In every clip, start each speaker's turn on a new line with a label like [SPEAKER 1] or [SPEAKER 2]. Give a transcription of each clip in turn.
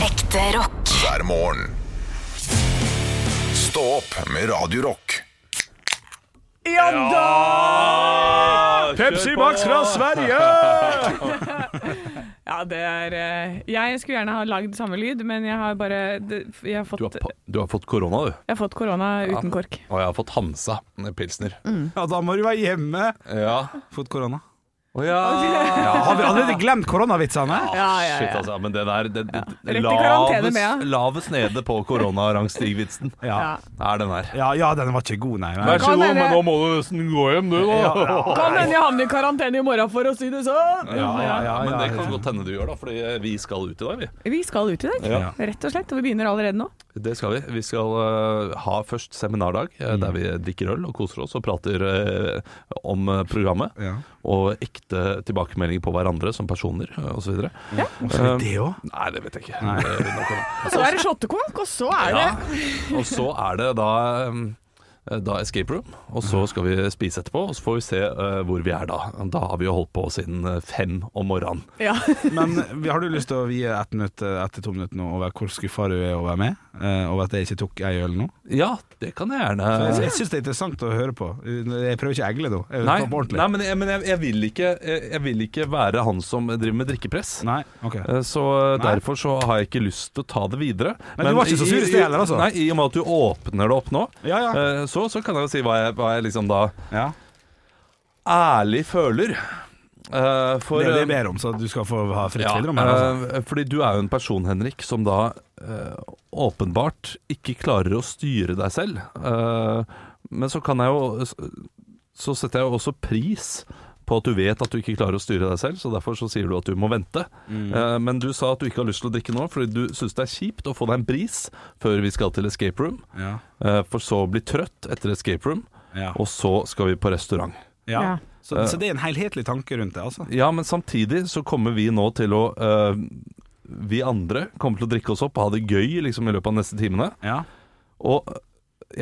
[SPEAKER 1] Ekte rock.
[SPEAKER 2] hver morgen. Stå opp med Radio Rock.
[SPEAKER 3] Pepsi Max fra Sverige!
[SPEAKER 4] Ja, det er eh, Jeg skulle gjerne ha lagd samme lyd, men jeg har bare det- Jeg har fått,
[SPEAKER 3] Du har, pa- du har fått korona, du.
[SPEAKER 4] jeg har fått korona uten kork.
[SPEAKER 3] Og jeg har fått Hansa pilsner.
[SPEAKER 5] Ja, da må du være hjemme
[SPEAKER 3] Ja.
[SPEAKER 5] Fått korona
[SPEAKER 3] Å ja. ja.
[SPEAKER 5] Har vi allerede glemt koronavitsene?
[SPEAKER 4] Ja, ja,
[SPEAKER 3] Shit,
[SPEAKER 4] ja.
[SPEAKER 3] altså. Men den er den, den,
[SPEAKER 4] Rett i karantene
[SPEAKER 3] lavest,
[SPEAKER 4] med, ja.
[SPEAKER 3] lavest nede på koronarangstigvitsen.
[SPEAKER 4] Ja.
[SPEAKER 3] Er den her.
[SPEAKER 5] Ja, ja, den var ikke god, nei.
[SPEAKER 3] Vær så
[SPEAKER 4] Kan
[SPEAKER 3] god,
[SPEAKER 4] dere-
[SPEAKER 3] men nå må du nesten gå hjem, du, da.
[SPEAKER 4] Kan hende jeg havner i karantene i morgen, for å si det sånn.
[SPEAKER 3] Ja, ja, ja,
[SPEAKER 5] ja,
[SPEAKER 3] men det
[SPEAKER 5] ja.
[SPEAKER 3] kan godt hende du gjør, da, fordi eh, vi skal ut i dag, vi.
[SPEAKER 4] Vi skal ut i dag,
[SPEAKER 3] Ja.
[SPEAKER 4] rett og slett. Og vi begynner allerede nå.
[SPEAKER 3] Det skal vi. Vi skal eh, ha først seminardag, eh, der vi drikker øl og koser oss og prater eh, om eh, programmet.
[SPEAKER 5] Ja.
[SPEAKER 3] Og ekte tilbakemeldinger på hverandre som personer eh, og så videre
[SPEAKER 5] Også det òg.
[SPEAKER 3] Nei, det vet jeg ikke. Det vil nok komme.
[SPEAKER 4] Og så er det shottekonk, og så er det
[SPEAKER 3] Ja. Og så er det da um, da Escape Room, og så skal vi spise etterpå. Og så får vi se eh, hvor vi er da. Da har vi jo holdt på siden eh, fem om morgenen.
[SPEAKER 4] Ja.
[SPEAKER 5] Men vi- har du lyst til å vie ett minutt eh, etter to minutter nå over hvor skuffa du er over meg? eh, Over at jeg ikke tok ei øl nå?
[SPEAKER 3] Ja, det kan jeg gjerne.
[SPEAKER 5] Jeg, jeg syns det er interessant å høre på. Jeg prøver ikke å egle nå. Jeg vil
[SPEAKER 3] Nei,
[SPEAKER 5] ta på ordentlig.
[SPEAKER 3] nei men, jeg, men jeg, jeg, vil ikke, jeg, jeg vil ikke være han som driver med drikkepress.
[SPEAKER 5] Nei, ok.
[SPEAKER 3] Eh, Så eh, derfor så har jeg ikke lyst til å ta det videre.
[SPEAKER 5] Men du var ikke så sur i sted heller, altså.
[SPEAKER 3] Nei, I og med at du åpner det opp nå,
[SPEAKER 5] Ja, ja.
[SPEAKER 3] eh, så, så kan jeg jo si hva jeg, hva jeg liksom da
[SPEAKER 5] ja.
[SPEAKER 3] ærlig føler. Eh, for
[SPEAKER 5] Det er det jeg
[SPEAKER 3] eh,
[SPEAKER 5] ber om, så du skal få ha fritt
[SPEAKER 3] Ja,
[SPEAKER 5] spillerom her. Altså.
[SPEAKER 3] eh, fordi du er jo en person, Henrik, som da eh, åpenbart ikke klarer å styre deg selv. Eh, men så kan jeg jo Så setter jeg jo også pris på at du vet at du ikke klarer å styre deg selv, så derfor så sier du at du må vente.
[SPEAKER 5] Mm.
[SPEAKER 3] Eh, men du sa at du ikke har lyst til å drikke nå fordi du syns det er kjipt å få deg en bris før vi skal til escape room,
[SPEAKER 5] Ja.
[SPEAKER 3] eh, for så å bli trøtt etter escape room,
[SPEAKER 5] Ja.
[SPEAKER 3] og så skal vi på restaurant.
[SPEAKER 5] Ja.
[SPEAKER 4] Ja.
[SPEAKER 5] Så,
[SPEAKER 3] Eh.
[SPEAKER 5] så det er en helhetlig tanke rundt det, altså.
[SPEAKER 3] Ja, men samtidig så kommer vi nå til å øh, Vi andre kommer til å drikke oss opp og ha det gøy liksom, i løpet av de neste timene.
[SPEAKER 5] Ja.
[SPEAKER 3] Og eh,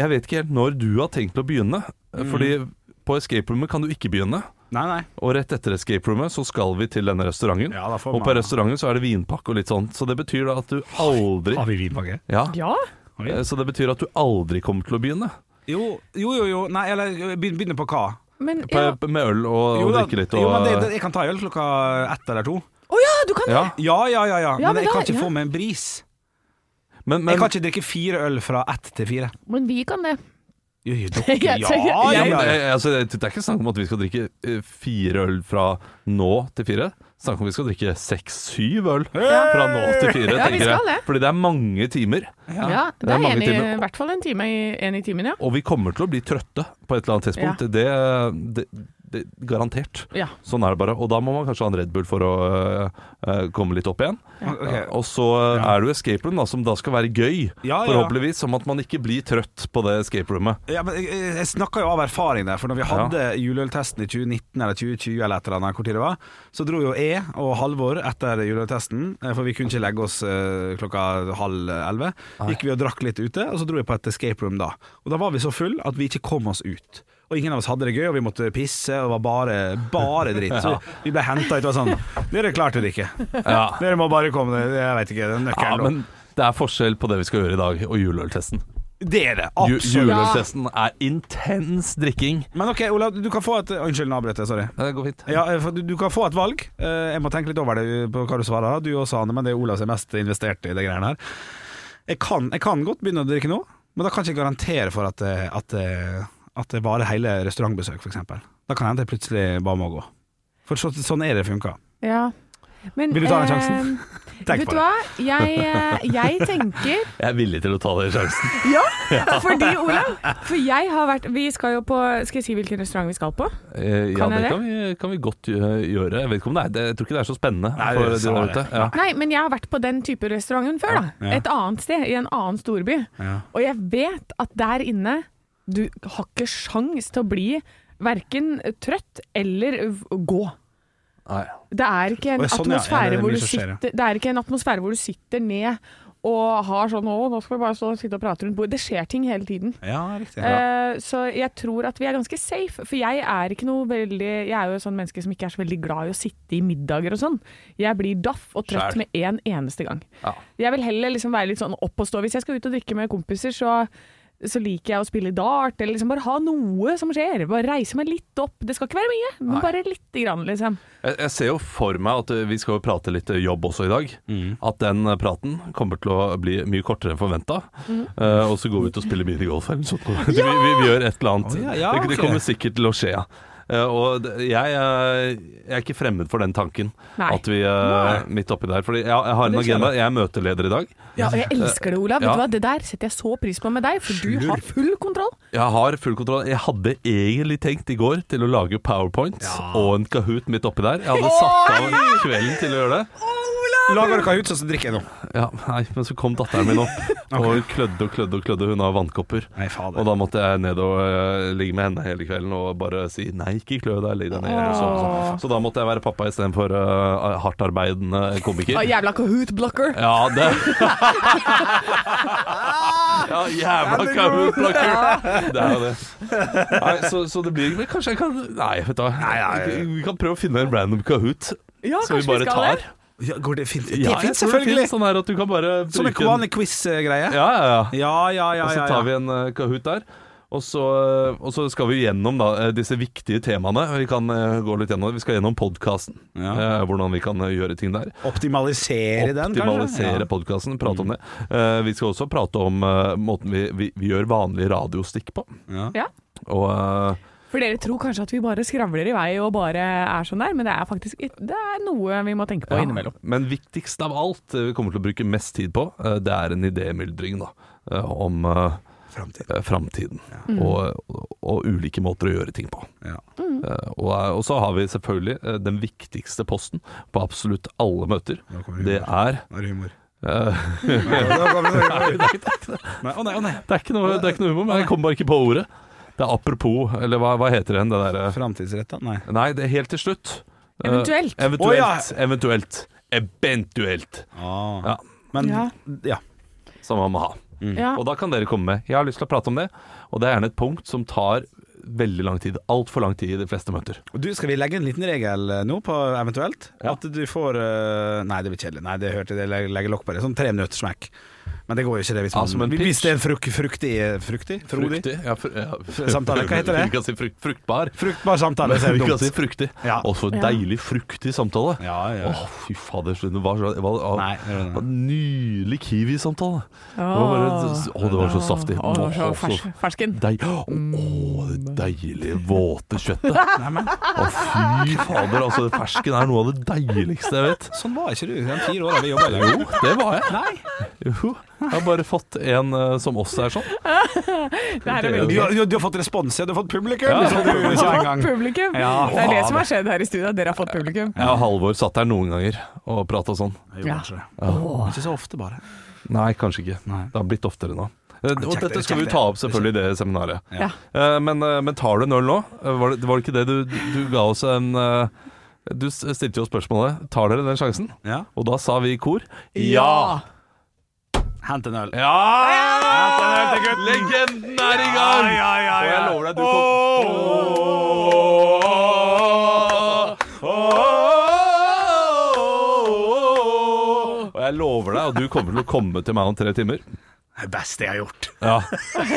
[SPEAKER 3] jeg vet ikke helt når du har tenkt å begynne. eh,
[SPEAKER 5] Mm.
[SPEAKER 3] Fordi på escape roomet kan du ikke begynne.
[SPEAKER 5] Nei, nei.
[SPEAKER 3] Og rett etter escape roomet så skal vi til denne restauranten.
[SPEAKER 5] Ja, da får
[SPEAKER 3] og
[SPEAKER 5] man-
[SPEAKER 3] på restauranten så er det vinpakke og litt sånn. Så det betyr da at du aldri
[SPEAKER 5] vi vinpakke?
[SPEAKER 3] ja.
[SPEAKER 4] ja.
[SPEAKER 3] Eh, Så det betyr at du aldri kommer til å begynne
[SPEAKER 5] Jo, jo, jo. jo. Nei, eller eh, begyn- begynne på hva?
[SPEAKER 4] Men
[SPEAKER 3] på,
[SPEAKER 4] ja.
[SPEAKER 3] med øl og,
[SPEAKER 5] Jo,
[SPEAKER 3] og
[SPEAKER 5] da-
[SPEAKER 3] drikke litt.
[SPEAKER 5] jo,
[SPEAKER 3] Og,
[SPEAKER 5] men det, det, jeg kan ta øl klokka ett eller to.
[SPEAKER 4] Å ja, du kan det!
[SPEAKER 3] ja.
[SPEAKER 5] Ja, ja, ja, ja.
[SPEAKER 4] Ja,
[SPEAKER 5] men,
[SPEAKER 4] men
[SPEAKER 5] jeg
[SPEAKER 4] da-
[SPEAKER 5] kan ikke
[SPEAKER 4] ja.
[SPEAKER 5] få meg en bris.
[SPEAKER 3] Men,
[SPEAKER 5] Jeg
[SPEAKER 3] men,
[SPEAKER 5] kan ikke drikke fire øl fra ett til fire.
[SPEAKER 4] Men vi kan det.
[SPEAKER 5] Jo, jo, dere-
[SPEAKER 4] Jeg
[SPEAKER 5] ja,
[SPEAKER 4] tenker-
[SPEAKER 5] ja,
[SPEAKER 3] Ja,
[SPEAKER 5] ja,
[SPEAKER 3] men,
[SPEAKER 5] ja.
[SPEAKER 3] eh, altså, det det er ikke snakk om at vi skal drikke eh, fire øl fra nå til fire. Snakk om at vi skal drikke seks-syv øl fra nå til fire.
[SPEAKER 4] Ja, vi
[SPEAKER 3] tenker jeg.
[SPEAKER 4] skal det.
[SPEAKER 3] Fordi det er mange timer,
[SPEAKER 4] Ja,
[SPEAKER 3] Det
[SPEAKER 4] Det
[SPEAKER 3] er
[SPEAKER 4] er
[SPEAKER 3] mange
[SPEAKER 4] en i,
[SPEAKER 3] timer.
[SPEAKER 4] i hvert fall en time i, en i timen, ja.
[SPEAKER 3] og vi kommer til å bli trøtte på et eller annet tidspunkt.
[SPEAKER 4] Ja.
[SPEAKER 3] Det, det, det Garantert.
[SPEAKER 4] ja.
[SPEAKER 3] Sånn er det bare. Og da må man kanskje ha en Red Bull for å eh, eh, komme litt opp igjen.
[SPEAKER 5] Ok.
[SPEAKER 3] Og så eh, er det jo escape room, da, som da skal være gøy.
[SPEAKER 5] Ja, ja.
[SPEAKER 3] Forhåpentligvis. Som at man ikke blir trøtt på det escape roomet.
[SPEAKER 5] Ja, men jeg, jeg snakker jo av erfaring der, for når vi hadde juleøltesten i 2019 eller 2020 eller et eller annet, hvor tid det var, så dro jo jeg og Halvor etter juleøltesten, eh, for vi kunne ikke legge oss eh, klokka halv elleve. Gikk vi og drakk litt ute, og så dro jeg på et escape room da. Og da var vi så full at vi ikke kom oss ut. Og ingen av oss hadde det gøy, og vi måtte pisse, og var bare, bare dritt. Så vi ble henta ut og var sånn Dere klarte det ikke.
[SPEAKER 3] Ja.
[SPEAKER 5] Dere må bare komme dere Jeg veit ikke. Nøkkelen.
[SPEAKER 3] ja,
[SPEAKER 5] lå.»
[SPEAKER 3] men det er forskjell på det vi skal gjøre i dag, og juleøltesten.
[SPEAKER 5] det er det.
[SPEAKER 3] Ju-
[SPEAKER 5] Absolutt.
[SPEAKER 3] Juleøltesten er intens drikking.
[SPEAKER 5] Men OK, Olav, du kan få et Unnskyld, nå avbrøt jeg. Sorry.
[SPEAKER 3] Ja, Det går fint.
[SPEAKER 5] Ja, eh, for du, du kan få et valg. Eh, Jeg må tenke litt over det på hva du svarer. Du også, Anne, men det er Olav som er mest investert i det greiene her. Jeg kan, jeg kan godt begynne å drikke nå, men da kan jeg ikke garantere for at, eh, at, eh, at det varer hele restaurantbesøk, f.eks. Da kan det hende jeg plutselig bare må gå. For så, sånn er det funka.
[SPEAKER 4] Ja. Men,
[SPEAKER 5] Vil du ta den
[SPEAKER 4] eh,
[SPEAKER 5] sjansen? Tenk
[SPEAKER 4] vet
[SPEAKER 5] på
[SPEAKER 4] du
[SPEAKER 5] det.
[SPEAKER 4] hva, jeg, eh, jeg tenker
[SPEAKER 3] Jeg er villig til å ta den sjansen.
[SPEAKER 4] Ja, fordi Olav For jeg har vært Vi skal jo på Skal jeg si hvilken restaurant vi skal på?
[SPEAKER 3] Eh, ja,
[SPEAKER 4] Kan jeg
[SPEAKER 3] det
[SPEAKER 4] det?
[SPEAKER 3] kan vi, kan vi godt gjø- gjøre. Jeg vet ikke om det er det, Jeg tror ikke det er så spennende
[SPEAKER 5] Nei,
[SPEAKER 3] for
[SPEAKER 5] det
[SPEAKER 3] de
[SPEAKER 5] sa
[SPEAKER 3] der
[SPEAKER 5] jeg.
[SPEAKER 3] ute. Ja.
[SPEAKER 4] Nei, men jeg har vært på den type restauranten før, da.
[SPEAKER 5] ja.
[SPEAKER 4] Et annet sted, i en annen storby.
[SPEAKER 5] Ja.
[SPEAKER 4] Og jeg vet at der inne Du har ikke sjans til å bli verken trøtt eller v- gå.
[SPEAKER 3] Nei.
[SPEAKER 4] Det er ikke en
[SPEAKER 5] Å, ja, sånn, ja. Ja, det
[SPEAKER 4] atmosfære
[SPEAKER 5] er
[SPEAKER 4] hvor
[SPEAKER 5] mye
[SPEAKER 4] du
[SPEAKER 5] som skjer, ja.
[SPEAKER 4] sitter Det er ikke en atmosfære hvor du sitter ned og, og har sånn 'Å, nå skal vi bare stå og sitte og prate rundt bordet'. Det skjer ting hele tiden.
[SPEAKER 5] Ja, riktig.
[SPEAKER 4] Eh, så jeg tror at vi er ganske safe. For jeg er ikke noe veldig Jeg er jo et sånn menneske som ikke er så veldig glad i å sitte i middager og sånn. Jeg blir daff og trøtt
[SPEAKER 5] Skjær.
[SPEAKER 4] med en eneste gang.
[SPEAKER 3] Ja.
[SPEAKER 4] Jeg vil heller liksom være litt sånn opp og stå. Hvis jeg skal ut og drikke med kompiser, så så liker jeg å spille dart, eller liksom bare ha noe som skjer. Bare reise meg litt opp. Det skal ikke være mye, men
[SPEAKER 3] Nei.
[SPEAKER 4] bare lite grann, liksom.
[SPEAKER 3] Jeg, jeg ser jo for meg at eh, vi skal jo prate litt jobb også i dag.
[SPEAKER 5] Mm.
[SPEAKER 3] At den eh, praten kommer til å bli mye kortere enn forventa. og så går vi ut og spiller minigolf eller noe sånt. Vi, vi, vi gjør et eller annet.
[SPEAKER 5] Å, ja, ja,
[SPEAKER 3] det, det
[SPEAKER 5] ok.
[SPEAKER 3] kommer sikkert til å skje. ja. Eh, og det- jeg, eh, jeg er ikke fremmed for den tanken.
[SPEAKER 4] Nei.
[SPEAKER 3] At vi eh, midt oppi der. Fordi jeg, jeg har en
[SPEAKER 5] Det skjer
[SPEAKER 3] agenda. Jeg er møteleder i dag.
[SPEAKER 4] Ja, og jeg elsker det, Olav.
[SPEAKER 3] Ja.
[SPEAKER 4] Vet du hva? Det der setter jeg så pris på med deg, for du har full kontroll.
[SPEAKER 3] Jeg har full kontroll. Jeg hadde egentlig tenkt i går til å lage powerpoints og en Kahoot midt oppi der. Jeg hadde satt av kvelden til å gjøre det.
[SPEAKER 5] Lager dere ut, så drikker jeg nå.
[SPEAKER 3] Ja, nei, Men så kom datteren min opp, og hun klødde og klødde og klødde. Hun har vannkopper.
[SPEAKER 5] Nei,
[SPEAKER 3] Og
[SPEAKER 5] fader.
[SPEAKER 3] da måtte jeg ned og eh, ligge med henne hele kvelden og bare si nei, ikke klø deg, ligg deg ned. Og sånn, sånn. Så da måtte jeg være pappa istedenfor uh, hardtarbeidende komiker.
[SPEAKER 4] Å, jævla Kahoot-blocker.
[SPEAKER 3] Ja, det Ja, jævla kahootblokker. Det er jo det. Nei, så, så det blir men Kanskje jeg kan Nei, vet du hva.
[SPEAKER 5] nei, nei.
[SPEAKER 3] Vi kan prøve å finne en random kahoot
[SPEAKER 4] Ja,
[SPEAKER 3] som
[SPEAKER 4] kanskje
[SPEAKER 3] vi
[SPEAKER 4] vi
[SPEAKER 3] bare
[SPEAKER 4] skal
[SPEAKER 3] tar.
[SPEAKER 4] det?
[SPEAKER 5] Ja, går det fint?
[SPEAKER 3] Ja,
[SPEAKER 5] det
[SPEAKER 3] jeg
[SPEAKER 5] fins
[SPEAKER 3] tror det
[SPEAKER 5] selvfølgelig!
[SPEAKER 3] finnes Sånn her at du kan bare
[SPEAKER 5] Som en
[SPEAKER 3] bruke en-
[SPEAKER 5] vanlig quiz-greie.
[SPEAKER 3] Ja, ja, ja.
[SPEAKER 5] Ja, ja, ja.
[SPEAKER 3] Og så
[SPEAKER 5] ja,
[SPEAKER 3] tar
[SPEAKER 5] ja.
[SPEAKER 3] vi en eh, Kahoot der. Og så, eh, og så skal vi gjennom da, eh, disse viktige temaene. Vi kan eh, gå litt gjennom det. Vi skal gjennom podkasten.
[SPEAKER 5] Ja.
[SPEAKER 3] hvordan vi kan eh, gjøre ting der.
[SPEAKER 5] Optimalisere den, kanskje? Mm.
[SPEAKER 3] Optimalisere podkasten, prate om det. Eh, vi skal også prate om eh, måten vi, vi, vi gjør vanlige radiostikk på.
[SPEAKER 5] Ja.
[SPEAKER 4] Ja.
[SPEAKER 3] Og eh,
[SPEAKER 4] For dere tror kanskje at vi bare skravler i vei og bare er sånn der, men det er faktisk det er noe vi må tenke på
[SPEAKER 3] ja.
[SPEAKER 4] innimellom.
[SPEAKER 3] Men viktigst av alt, eh, vi kommer til å bruke mest tid på, eh, det er en idémyldring da, eh, om eh,
[SPEAKER 5] Fremtid.
[SPEAKER 3] eh, framtiden.
[SPEAKER 5] Mm.
[SPEAKER 3] Og, og, og ulike måter å gjøre ting på.
[SPEAKER 5] Ja.
[SPEAKER 3] Eh, Og, og så har vi selvfølgelig eh, den viktigste posten på absolutt alle møter.
[SPEAKER 5] Nå kommer
[SPEAKER 3] Det
[SPEAKER 5] humor.
[SPEAKER 3] er
[SPEAKER 5] Nå er det humor.
[SPEAKER 3] eh,
[SPEAKER 5] Nei, nå kommer det humor. Nei, å nei, å nei.
[SPEAKER 3] Det er ikke noe, det er ikke noe humor, men jeg kom bare ikke på ordet. Det er apropos, eller hva, hva heter det igjen, det derre
[SPEAKER 5] Framtidsretta? Nei.
[SPEAKER 3] Nei, det er helt til slutt. Eh,
[SPEAKER 4] Eventuelt.
[SPEAKER 3] Eventuelt.
[SPEAKER 5] Å, ja.
[SPEAKER 3] Eventuelt. Eventuelt.
[SPEAKER 5] Ah.
[SPEAKER 3] Ja,
[SPEAKER 5] Men
[SPEAKER 4] Ja.
[SPEAKER 5] ja.
[SPEAKER 3] som man må ha.
[SPEAKER 4] Ja.
[SPEAKER 3] Mm. Og da kan dere komme med. Jeg har lyst til å prate om det, og det er gjerne et punkt som tar veldig lang tid. Altfor lang tid i de fleste møter.
[SPEAKER 5] Og Du, skal vi legge en liten regel eh, nå på eventuelt?
[SPEAKER 3] Ja.
[SPEAKER 5] At du får eh, Nei, det blir kjedelig. Nei, det hørte jeg det legger legge lokk på det. Sånn tre minutter smekk. Altså, Men det går jo ikke det hvis
[SPEAKER 3] Ja,
[SPEAKER 5] man
[SPEAKER 3] som en
[SPEAKER 5] Hvis
[SPEAKER 3] pitch.
[SPEAKER 5] det er en fruk, fruktig eh, Fruktig? Frodig?
[SPEAKER 3] Fruktig. Ja, fr ja.
[SPEAKER 5] Samtale, hva heter det?
[SPEAKER 3] Vi kan si frukt, fruktbar.
[SPEAKER 5] Fruktbar samtale,
[SPEAKER 3] Men
[SPEAKER 5] så er
[SPEAKER 3] vi
[SPEAKER 5] det
[SPEAKER 3] kan si
[SPEAKER 5] dumt.
[SPEAKER 3] fruktig.
[SPEAKER 5] Ja.
[SPEAKER 3] Og for en deilig, fruktig samtale.
[SPEAKER 5] Ja, ja.
[SPEAKER 3] Åh, fy fader, skjønner du hva det var? Det
[SPEAKER 5] Nei, det var det.
[SPEAKER 3] var en Nylig Kiwi-samtale. Det var bare- Åh, det var så saftig.
[SPEAKER 4] Åh, det var så Mm.
[SPEAKER 3] Åh,
[SPEAKER 4] fers fersken.
[SPEAKER 3] Deig. Åh, det deilige, våte kjøttet. Åh, fy fader, altså det fersken er noe av det deiligste jeg vet.
[SPEAKER 5] Sånn var ikke du i de fire åra vi jobba i
[SPEAKER 3] Jo, det var jeg. Jo, jeg har bare fått en eh, som også er sånn.
[SPEAKER 4] Det her er
[SPEAKER 5] Du,
[SPEAKER 4] veldig
[SPEAKER 5] har- du har fått respons, ja. Du har fått publikum,
[SPEAKER 3] Ja.
[SPEAKER 5] som du sa en gang.
[SPEAKER 4] Publikum!
[SPEAKER 5] Ja,
[SPEAKER 4] det er det som har skjedd her i studio, dere har fått publikum.
[SPEAKER 3] Jeg og Halvor satt der noen ganger og prata sånn.
[SPEAKER 5] Jeg gjorde kanskje det. Ikke så ofte, bare.
[SPEAKER 3] Nei, kanskje ikke.
[SPEAKER 5] Nei.
[SPEAKER 3] Det har blitt oftere nå. Eh, Og
[SPEAKER 5] Kjekt,
[SPEAKER 3] dette skal
[SPEAKER 5] kjekt
[SPEAKER 3] vi
[SPEAKER 5] det.
[SPEAKER 3] ta opp selvfølgelig i det seminaret.
[SPEAKER 4] Ja.
[SPEAKER 3] Eh, Men, eh, men tar du en øl nå? Eh, Var det, var det ikke det du, du ga oss en eh, Du s- stilte jo spørsmålet Tar dere den sjansen?
[SPEAKER 5] Ja.
[SPEAKER 3] Og da sa vi i kor
[SPEAKER 5] Hent en øl.
[SPEAKER 3] Ja!
[SPEAKER 5] Hent en øl til gutten!
[SPEAKER 3] Ah! Legenden er i
[SPEAKER 5] Ja,
[SPEAKER 3] gang!
[SPEAKER 5] ja, ja,
[SPEAKER 3] Og jeg
[SPEAKER 5] ja.
[SPEAKER 3] lover deg, du kom Og jeg lover deg, og du kommer til å komme til meg om tre timer.
[SPEAKER 5] Det er det beste jeg har gjort.
[SPEAKER 3] Ja,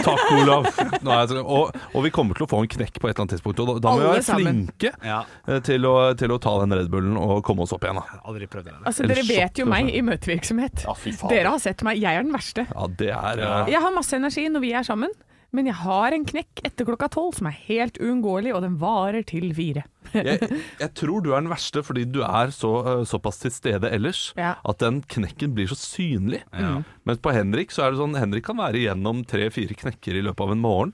[SPEAKER 3] takk Olav. Nå er jeg så- og, og vi kommer til å få en knekk på et eller annet tidspunkt. Og da, da må vi
[SPEAKER 4] Alle
[SPEAKER 3] være
[SPEAKER 4] sammen.
[SPEAKER 3] flinke
[SPEAKER 5] Ja.
[SPEAKER 3] eh, til, å, til å ta den Red Bullen og komme oss opp igjen. Da.
[SPEAKER 5] Aldri prøvd det.
[SPEAKER 4] Altså,
[SPEAKER 3] Eller
[SPEAKER 4] dere vet jo
[SPEAKER 3] shot,
[SPEAKER 4] meg
[SPEAKER 3] kanskje.
[SPEAKER 4] i møtevirksomhet.
[SPEAKER 3] Ja, fy faen.
[SPEAKER 4] Dere har sett meg. Jeg er den verste.
[SPEAKER 3] Ja, det er eh,
[SPEAKER 4] Jeg har masse energi når vi er sammen, men jeg har en knekk etter klokka tolv som er helt uunngåelig, og den varer til fire.
[SPEAKER 3] jeg, jeg tror du er den verste fordi du er så, eh, såpass til stede ellers
[SPEAKER 4] Ja.
[SPEAKER 3] at den knekken blir så synlig. Mens på Henrik så er det sånn Henrik kan være igjennom tre-fire knekker i løpet av en morgen.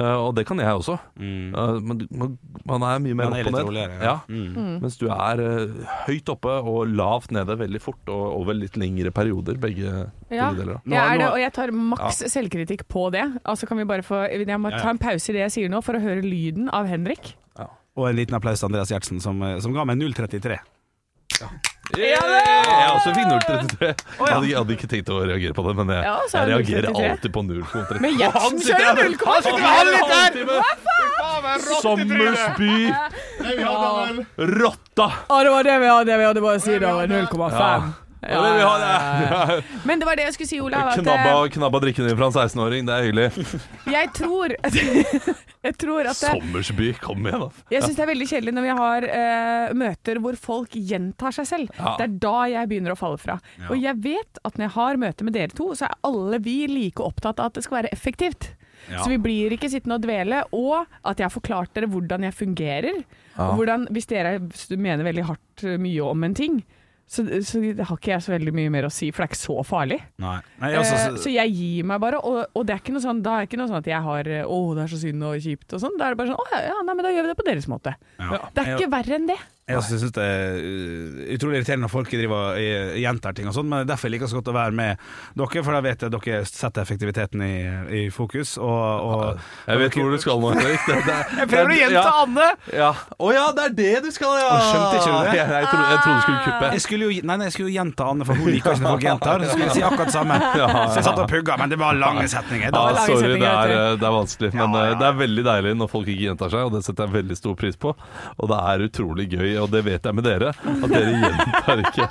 [SPEAKER 3] eh, og det kan jeg også. Eh, men du- man, man er mye mer
[SPEAKER 5] Mm. Man er
[SPEAKER 3] opp og
[SPEAKER 5] litt
[SPEAKER 3] ned.
[SPEAKER 5] roligere, ja. Mm.
[SPEAKER 3] Ja. Mens du er eh, høyt oppe og lavt nede veldig fort og over litt lengre perioder, begge,
[SPEAKER 4] Ja,
[SPEAKER 3] begge deler. da.
[SPEAKER 4] jeg er det,
[SPEAKER 5] nå-
[SPEAKER 4] og jeg tar maks selvkritikk på det. Altså kan vi bare få, Jeg må ta en pause i det jeg sier nå, for å høre lyden av Henrik.
[SPEAKER 5] eh, Og en liten applaus til Andreas Gjertsen, som, som ga meg 0,33.
[SPEAKER 4] Ja, det!
[SPEAKER 3] Jeg er også finnhull 33. Jeg
[SPEAKER 5] ja.
[SPEAKER 3] hadde, jeg hadde ikke tenkt å reagere på det, men jeg,
[SPEAKER 4] Ja, så er
[SPEAKER 3] jeg
[SPEAKER 4] det
[SPEAKER 3] reagerer
[SPEAKER 4] 0,33.
[SPEAKER 3] alltid på 0,33.
[SPEAKER 4] Men Gjertsen
[SPEAKER 3] Han sitter
[SPEAKER 4] kjører
[SPEAKER 3] her med-
[SPEAKER 4] 0,33.
[SPEAKER 3] Han sitter her med en halvtime! Sommers by! Rotta!
[SPEAKER 4] Ja, det var det vi hadde, vi hadde bare si det var 0,5.
[SPEAKER 3] Ja, det vi har, det er-
[SPEAKER 4] Men det var det jeg skulle si, Olav. At eh,
[SPEAKER 3] Knabba, knabba drikken din fra en 16-åring, det er hyggelig.
[SPEAKER 4] jeg tror Jeg tror at eh, det,
[SPEAKER 3] Sommersby, kom igjen, da.
[SPEAKER 4] Jeg syns det er veldig kjedelig når vi har eh, møter hvor folk gjentar seg selv.
[SPEAKER 3] Ja.
[SPEAKER 4] Det er da jeg begynner å falle fra. Og jeg vet at når jeg har møte med dere to, så er alle vi like opptatt av at det skal være effektivt.
[SPEAKER 5] Ja.
[SPEAKER 4] Så vi blir ikke sittende og dvele, og at jeg har forklart dere hvordan jeg fungerer. Og hvordan, hvis dere mener veldig hardt eh, mye om en ting, så, så har ikke jeg så veldig mye mer å si, for det er ikke så farlig.
[SPEAKER 5] Nei. Nei, altså,
[SPEAKER 4] Eh, så jeg gir meg bare, og, og det er ikke noe sånn, da er det ikke noe sånn at jeg har eh, 'Å, det er så synd og kjipt' og sånn. Da er det bare sånn 'Å ja, ja, nei, men da gjør vi det på deres måte'.
[SPEAKER 5] Ja.
[SPEAKER 4] Det er ikke verre enn det.
[SPEAKER 5] Jeg også synes det er uh, utrolig irriterende når folk driver og eh, gjentar ting og sånn, men derfor liker jeg så godt å være med dere, for da vet jeg at dere setter effektiviteten i, i fokus. Og, og
[SPEAKER 3] Jeg vet hvor du skal nå, Henrik. Det, det, det,
[SPEAKER 5] Jeg prøver å gjenta Anne!
[SPEAKER 3] Ja. Å ja, det er det du skal, ja!
[SPEAKER 5] Å, skjønte ikke du det? Ah.
[SPEAKER 3] Jeg, jeg, trodde, jeg trodde du skulle kuppe.
[SPEAKER 5] Jeg skulle jo, nei, nei, jeg skulle jo gjenta Anne, for hun liker ikke når folk gjentar. Så skulle jeg si akkurat det samme. Så jeg satt og pugga, men det var lange setninger. Da,
[SPEAKER 3] Ja,
[SPEAKER 4] lage
[SPEAKER 3] sorry, det
[SPEAKER 4] setninger,
[SPEAKER 3] er,
[SPEAKER 4] tror
[SPEAKER 3] det er vanskelig, men
[SPEAKER 5] Ja, ja, ja.
[SPEAKER 3] eh, det er veldig deilig når folk ikke gjentar seg, og det setter jeg veldig stor pris på. Og det er utrolig gøy, og det vet jeg med dere, at dere gjentar ikke.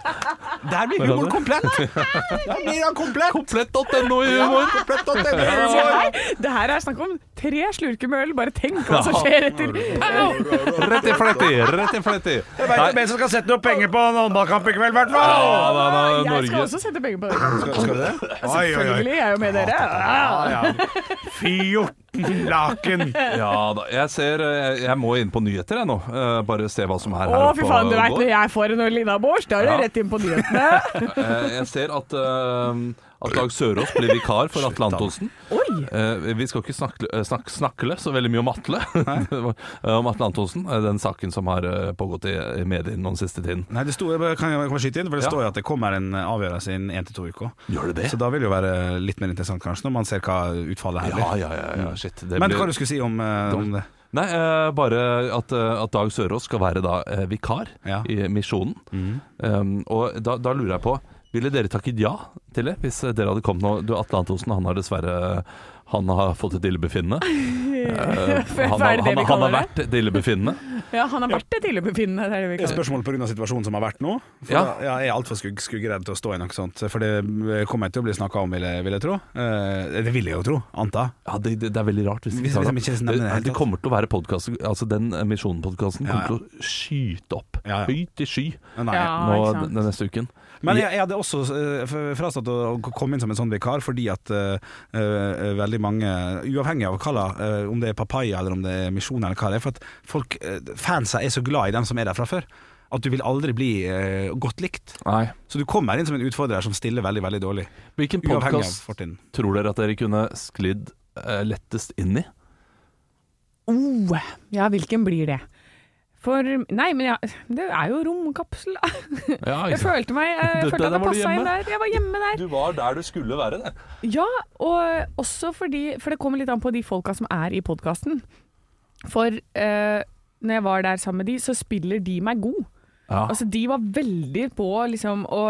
[SPEAKER 5] der blir humoren komplett! Der blir han komplett!
[SPEAKER 3] Komplett.no i humor!
[SPEAKER 4] Se her, det her er snakk om tre slurker med øl, bare tenk hva som
[SPEAKER 3] Ja.
[SPEAKER 4] skjer etter. Pow!
[SPEAKER 3] Rett i fletti, rett i fletti.
[SPEAKER 5] Jeg vet om
[SPEAKER 3] Nei,
[SPEAKER 5] en som skal sette noe penger på en håndballkamp i kveld, i hvert
[SPEAKER 3] ja,
[SPEAKER 5] fall!
[SPEAKER 3] da, da,
[SPEAKER 4] Jeg skal
[SPEAKER 3] Norge.
[SPEAKER 4] også sette penger på det.
[SPEAKER 5] Skal du det? Oi, oi, oi.
[SPEAKER 4] Selvfølgelig, jeg er jo med dere.
[SPEAKER 5] Ja, ja. 14 laken!
[SPEAKER 3] Ja da. Jeg ser eh, Jeg må inn på nyheter, jeg nå. Eh, Bare se hva som er
[SPEAKER 4] Å,
[SPEAKER 3] her
[SPEAKER 4] fy
[SPEAKER 3] oppe
[SPEAKER 4] faen, du
[SPEAKER 3] og
[SPEAKER 4] veit
[SPEAKER 3] går.
[SPEAKER 4] når jeg får en Lina Bård, da er det
[SPEAKER 3] Ja.
[SPEAKER 4] rett inn på nyhetene.
[SPEAKER 3] Eh, Jeg ser at, eh, at Dag Sørås blir vikar for Atle Antonsen.
[SPEAKER 4] Oi!
[SPEAKER 3] Eh, vi skal ikke snakke, eh, snak, snakle så veldig mye om Atle. Det var, eh, om Atle Antonsen, eh, den saken som har eh, pågått i, i mediene den siste tiden.
[SPEAKER 5] Nei, det sto, jeg bare- kan jeg bare skyte inn, for det
[SPEAKER 3] Ja.
[SPEAKER 5] står jo at det kommer en avgjørelse innen én til to uker.
[SPEAKER 3] Gjør det
[SPEAKER 5] Så da vil det jo være litt mer interessant kanskje, når man ser hva utfallet her
[SPEAKER 3] Ja,
[SPEAKER 5] blir.
[SPEAKER 3] ja, ja. ja shit. Det
[SPEAKER 5] Men
[SPEAKER 3] blir-
[SPEAKER 5] hva du skulle si om, eh, om det?
[SPEAKER 3] Nei, eh, bare at, eh, at Dag Sørås skal være da eh, vikar
[SPEAKER 5] Ja. Mm.
[SPEAKER 3] i Misjonen. Um, og da, da lurer jeg på Ville dere takket ja til det hvis dere hadde kommet nå? Du, Atle Antonsen, han har dessverre han har fått et illebefinnende. Eh,
[SPEAKER 4] Hva
[SPEAKER 3] han,
[SPEAKER 4] er
[SPEAKER 3] har-
[SPEAKER 4] det vi
[SPEAKER 3] han, han har
[SPEAKER 4] kaller det?
[SPEAKER 3] vært et illebefinnende.
[SPEAKER 4] Ja, han har vært et illebefinnende. Det er det vi
[SPEAKER 5] Et
[SPEAKER 4] kaller det.
[SPEAKER 5] spørsmål pga. situasjonen som har vært nå. For
[SPEAKER 3] Ja.
[SPEAKER 5] da- ja, jeg er altfor skugg, skuggeredd til å stå i noe sånt. For det kommer jeg til å bli snakka om, vil jeg, vil jeg tro. Eh, det vil jeg jo tro. Anta.
[SPEAKER 3] Ja, det, det, det er veldig rart hvis vi
[SPEAKER 5] Hvis-
[SPEAKER 3] tar
[SPEAKER 5] hvis
[SPEAKER 3] det
[SPEAKER 5] de liksom ikke
[SPEAKER 3] opp.
[SPEAKER 5] nevner det i det hele
[SPEAKER 3] Det, det
[SPEAKER 5] tatt.
[SPEAKER 3] kommer til å være podkast Altså den eh, Misjonen-podkasten
[SPEAKER 5] Ja,
[SPEAKER 3] kommer til å skyte opp
[SPEAKER 5] Ja, ja.
[SPEAKER 3] høyt i sky
[SPEAKER 5] Nei.
[SPEAKER 4] Ja.
[SPEAKER 3] nå
[SPEAKER 4] Ah, ikke sant.
[SPEAKER 3] den, den neste uken.
[SPEAKER 5] Men jeg, jeg hadde også eh, f- frastått å å komme inn som en sånn vikar, fordi at eh, eh, veldig mange, uavhengig av hva la, eh, om det er papaya eller om det er misjon eller hva det er, for at folk, eh, fansa er så glad i dem som er der fra før, at du vil aldri bli eh, godt likt.
[SPEAKER 3] Nei.
[SPEAKER 5] Så du kommer inn som en utfordrer som stiller veldig, veldig dårlig.
[SPEAKER 3] Hvilken
[SPEAKER 5] Uavhengig av
[SPEAKER 3] podkast
[SPEAKER 5] fortiden.
[SPEAKER 3] tror dere at dere kunne sklidd eh, lettest inn i?
[SPEAKER 4] Oh, ja, hvilken blir det? For Nei, men ja, det er jo romkapsel. da.
[SPEAKER 3] Ja,
[SPEAKER 4] Jeg følte meg jeg
[SPEAKER 3] Dette,
[SPEAKER 4] følte at
[SPEAKER 3] der
[SPEAKER 4] jeg
[SPEAKER 3] var du
[SPEAKER 4] passa inn
[SPEAKER 3] hjemme.
[SPEAKER 4] der. Jeg var hjemme der.
[SPEAKER 3] Du var der du skulle være, der.
[SPEAKER 4] Ja, og også fordi For det kommer litt an på de folka som er i podkasten. For eh, når jeg var der sammen med de, så spiller de meg god.
[SPEAKER 3] Ja.
[SPEAKER 4] Altså, de var veldig på liksom å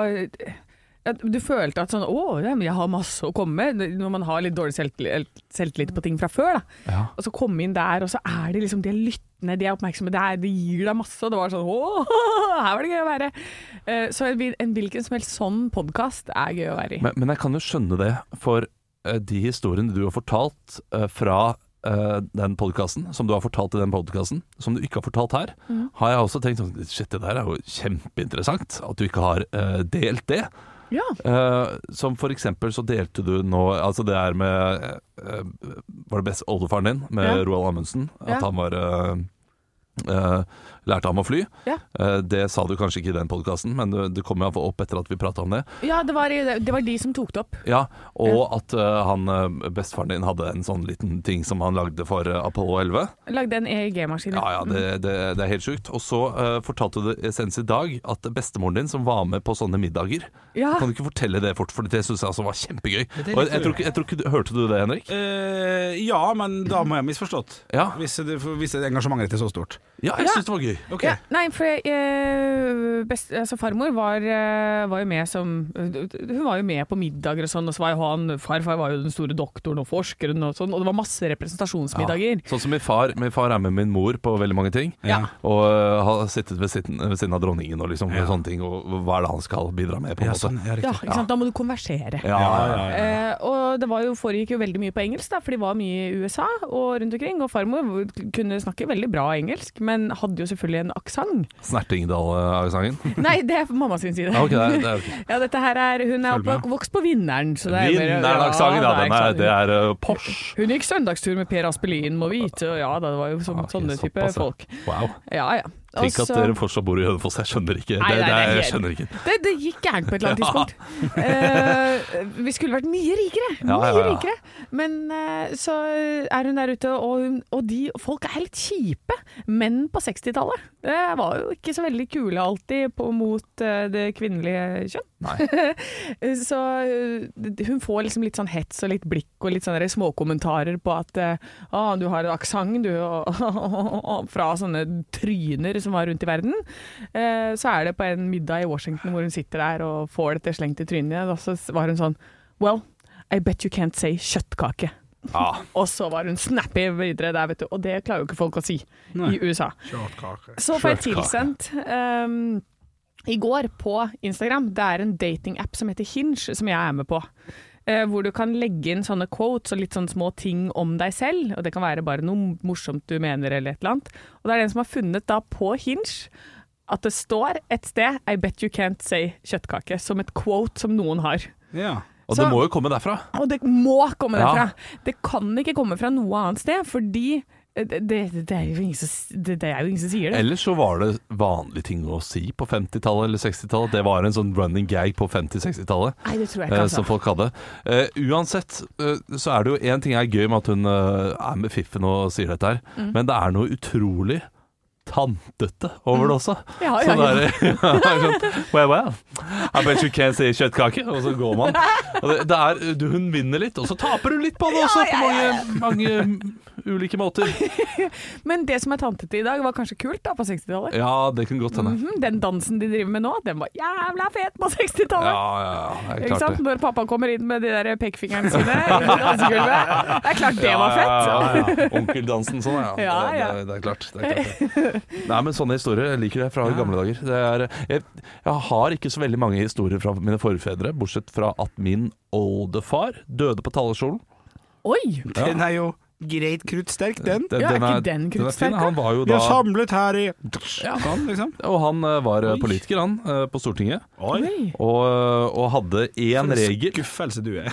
[SPEAKER 4] at du følte at sånn Å, ja, men jeg har masse å komme med. Når man har litt dårlig selvtillit, selvtillit på ting fra før, da.
[SPEAKER 3] Ja.
[SPEAKER 4] Og så komme inn der, og så er de liksom De er lyttende, de er oppmerksomme, det, er, de gir deg masse. Og det var sånn Å, her var det gøy å være. Eh, Så en, hvil- en hvilken som helst sånn podkast er gøy å være i.
[SPEAKER 3] Men, men jeg kan jo skjønne det, for eh, de historiene du har fortalt eh, fra eh, den podkasten, som du har fortalt i den podkasten, som du ikke har fortalt her,
[SPEAKER 4] Mm.
[SPEAKER 3] har jeg også tenkt sånn Shit, det der er jo kjempeinteressant, at du ikke har eh, delt det.
[SPEAKER 4] Ja.
[SPEAKER 3] Eh, som for eksempel så delte du nå Altså det er med eh, Var det best oldefaren din med
[SPEAKER 4] Ja.
[SPEAKER 3] Roald Amundsen? At
[SPEAKER 4] Ja.
[SPEAKER 3] han var eh, eh, Lærte ham å fly.
[SPEAKER 4] Ja.
[SPEAKER 3] Eh, det sa du kanskje ikke i den podkasten, men det, det kom jo opp etter at vi prata om det.
[SPEAKER 4] ja det, var, i- det var de som tok det opp.
[SPEAKER 3] Ja, Og at eh, han eh, bestefaren din hadde en sånn liten ting som han lagde for eh, Apollo 11.
[SPEAKER 4] Lagde en E EEG-maskin.
[SPEAKER 3] Ja, ja, det,
[SPEAKER 4] Mm.
[SPEAKER 3] det, det er helt sjukt. Og så eh, fortalte du senest i dag at bestemoren din, som var med på sånne middager
[SPEAKER 4] Mm. Ja.
[SPEAKER 3] Kan du ikke fortelle det fort, for det syns jeg altså var kjempegøy. Og jeg, jeg, tror ikke, jeg tror ikke du, Hørte du det, Henrik?
[SPEAKER 5] Eh, ja, men da må jeg ha misforstått.
[SPEAKER 3] Ja.
[SPEAKER 5] Hvis, det, for- hvis engasjementet ditt er så stort.
[SPEAKER 3] Ja, jeg syns det var gøy.
[SPEAKER 5] Oi, ok
[SPEAKER 4] Ja, nei, for eh, best, altså farmor var, eh, var jo med som Hun var jo med på middager og sånn, og så var jo han Farfar var jo den store doktoren og forskeren og sånn, og det var masse representasjonsmiddager.
[SPEAKER 3] Sånn som min far. Min far er med min mor på veldig mange ting.
[SPEAKER 4] Ja.
[SPEAKER 3] Og øh, har sittet ved siden, ved siden av dronningen og liksom
[SPEAKER 5] Ja.
[SPEAKER 3] sånne ting. Og hva er det han skal bidra med, på en
[SPEAKER 5] Ja,
[SPEAKER 3] måte.
[SPEAKER 5] sånn, ja,
[SPEAKER 4] Ja,
[SPEAKER 5] riktig
[SPEAKER 4] ikke sant? Da må du konversere.
[SPEAKER 3] Ja, ja, ja.
[SPEAKER 4] Eh, og det var jo, foregikk jo veldig mye på engelsk, da, for de var mye i USA og rundt omkring. Og farmor kunne snakke veldig bra engelsk, men hadde jo selvfølgelig en aksent.
[SPEAKER 3] Snertingdal-sangen.
[SPEAKER 4] Nei, det er på mamma sin side.
[SPEAKER 3] Ja, ok, det er, det er ok.
[SPEAKER 4] Ja, dette her er Hun er
[SPEAKER 5] Følg med.
[SPEAKER 4] oppvokst på Vinneren. så det er mer-
[SPEAKER 3] Vinneren-sangen,
[SPEAKER 4] det er
[SPEAKER 3] ja. Den er,
[SPEAKER 4] ikke sant.
[SPEAKER 3] det er øh, Porsche.
[SPEAKER 4] Hun gikk søndagstur med Per Aspelin, må vite. Og ja da, det var jo sånn,
[SPEAKER 3] Ja, ok,
[SPEAKER 4] sånne type
[SPEAKER 3] såpass, ja.
[SPEAKER 4] folk.
[SPEAKER 3] Wow.
[SPEAKER 4] Ja ja.
[SPEAKER 3] Tenk
[SPEAKER 4] Og så-
[SPEAKER 3] at dere fortsatt bor i Hønefoss. Jeg skjønner ikke.
[SPEAKER 4] Nei,
[SPEAKER 3] det,
[SPEAKER 4] nei,
[SPEAKER 3] det,
[SPEAKER 4] nei,
[SPEAKER 3] jeg skjønner ikke.
[SPEAKER 4] det, det gikk gærent på et eller annet tidspunkt. Eh, vi skulle vært mye rikere! Mye
[SPEAKER 3] Ja, ja, ja.
[SPEAKER 4] rikere. Men eh, så er hun der ute, og, hun, og de folk er helt kjipe. Menn på 60-tallet. Det var jo ikke så veldig kule alltid på, mot eh, det kvinnelige kjønn. Eh, så eh, d- hun får liksom litt sånn hets og litt blikk og litt sånne småkommentarer på at eh, ah, du har en aksent, du, og fra sånne tryner som var rundt i verden. Eh, så er det på en middag i Washington hvor hun sitter der og får dette slengt i trynet, og så s- var hun sånn Well, I bet you can't say kjøttkake.
[SPEAKER 3] Ja.
[SPEAKER 4] Og så var hun snappy videre der, vet du. Og det klarer jo ikke folk å si
[SPEAKER 5] Nei.
[SPEAKER 4] i USA.
[SPEAKER 5] Kjøttkake.
[SPEAKER 4] Så får jeg
[SPEAKER 3] Shortcut.
[SPEAKER 4] tilsendt ehm, i går på Instagram Det er en datingapp som heter Hinge, som jeg er med på. Eh, hvor du kan legge inn sånne quotes og litt sånne små ting om deg selv. Og det kan være bare noe morsomt du mener eller et eller annet. Og det er den som har funnet da på Hinge at det står et sted 'I bet you can't say kjøttkake' som et quote som noen har.
[SPEAKER 5] Ja.
[SPEAKER 3] Og
[SPEAKER 4] Så-
[SPEAKER 3] det må jo komme derfra.
[SPEAKER 4] Og det må komme
[SPEAKER 3] Ja.
[SPEAKER 4] derfra. Det kan ikke komme fra noe annet sted, fordi eh, det, det, det, er, jo ingen som, s- det, det er jo ingen som sier det.
[SPEAKER 3] Ellers så var det vanlige ting å si på 50-tallet eller 60-tallet. Det var en sånn running gag på 50-60-tallet.
[SPEAKER 4] Nei, det tror jeg
[SPEAKER 3] eh,
[SPEAKER 4] ikke, altså.
[SPEAKER 3] Som folk hadde. Eh, uansett eh, så er det jo én ting er gøy med at hun eh, er med fiffen og sier dette her,
[SPEAKER 4] Mm.
[SPEAKER 3] men det er noe utrolig tantete
[SPEAKER 4] Mm.
[SPEAKER 3] over det også.
[SPEAKER 4] Ja, ja,
[SPEAKER 3] Sånn
[SPEAKER 4] ja.
[SPEAKER 3] der, sånn, well, well. I bet you can't say kjøttkake. Og så går man. Og det, det er, du, hun vinner litt, og så taper hun litt på det også,
[SPEAKER 4] Ja,
[SPEAKER 3] på mange, mange ulike måter.
[SPEAKER 4] Men det som er tantete i dag, var kanskje kult da på 60-tallet.
[SPEAKER 3] Ja, det kunne godt hende.
[SPEAKER 4] Mhm, Den dansen de driver med nå, den var jævla fet på
[SPEAKER 3] Ja,
[SPEAKER 4] 60-tallet.
[SPEAKER 3] ja, ja. det er
[SPEAKER 4] Ikke
[SPEAKER 3] klart
[SPEAKER 4] sant?
[SPEAKER 3] det.
[SPEAKER 4] Når pappa kommer inn med de der pekefingrene sine i dansegulvet. Det er klart det var
[SPEAKER 3] Ja,
[SPEAKER 4] fett.
[SPEAKER 3] ja, ja. Onkeldansen sånn, ja.
[SPEAKER 4] Ja,
[SPEAKER 3] Det-
[SPEAKER 4] ja.
[SPEAKER 3] Det, det er klart. Det er klart det. Nei, men sånne historier jeg liker jeg fra gamle dager. Det er, jeg, jeg har ikke så veldig mange historier fra mine forfedre, bortsett fra at min oldefar døde på talerstolen.
[SPEAKER 4] Oi!
[SPEAKER 5] Den er jo greit kruttsterk, den.
[SPEAKER 4] Ja, er ikke den
[SPEAKER 3] er fin.
[SPEAKER 4] kruttsterk,
[SPEAKER 3] Han var jo
[SPEAKER 5] Vi
[SPEAKER 3] da
[SPEAKER 5] har samlet her i Sånn, liksom.
[SPEAKER 3] Og han eh, var eh,
[SPEAKER 5] Oi.
[SPEAKER 3] politiker, han, eh, på Stortinget.
[SPEAKER 5] Oi.
[SPEAKER 3] Og, eh, og hadde én regel
[SPEAKER 5] Skuffelse du er.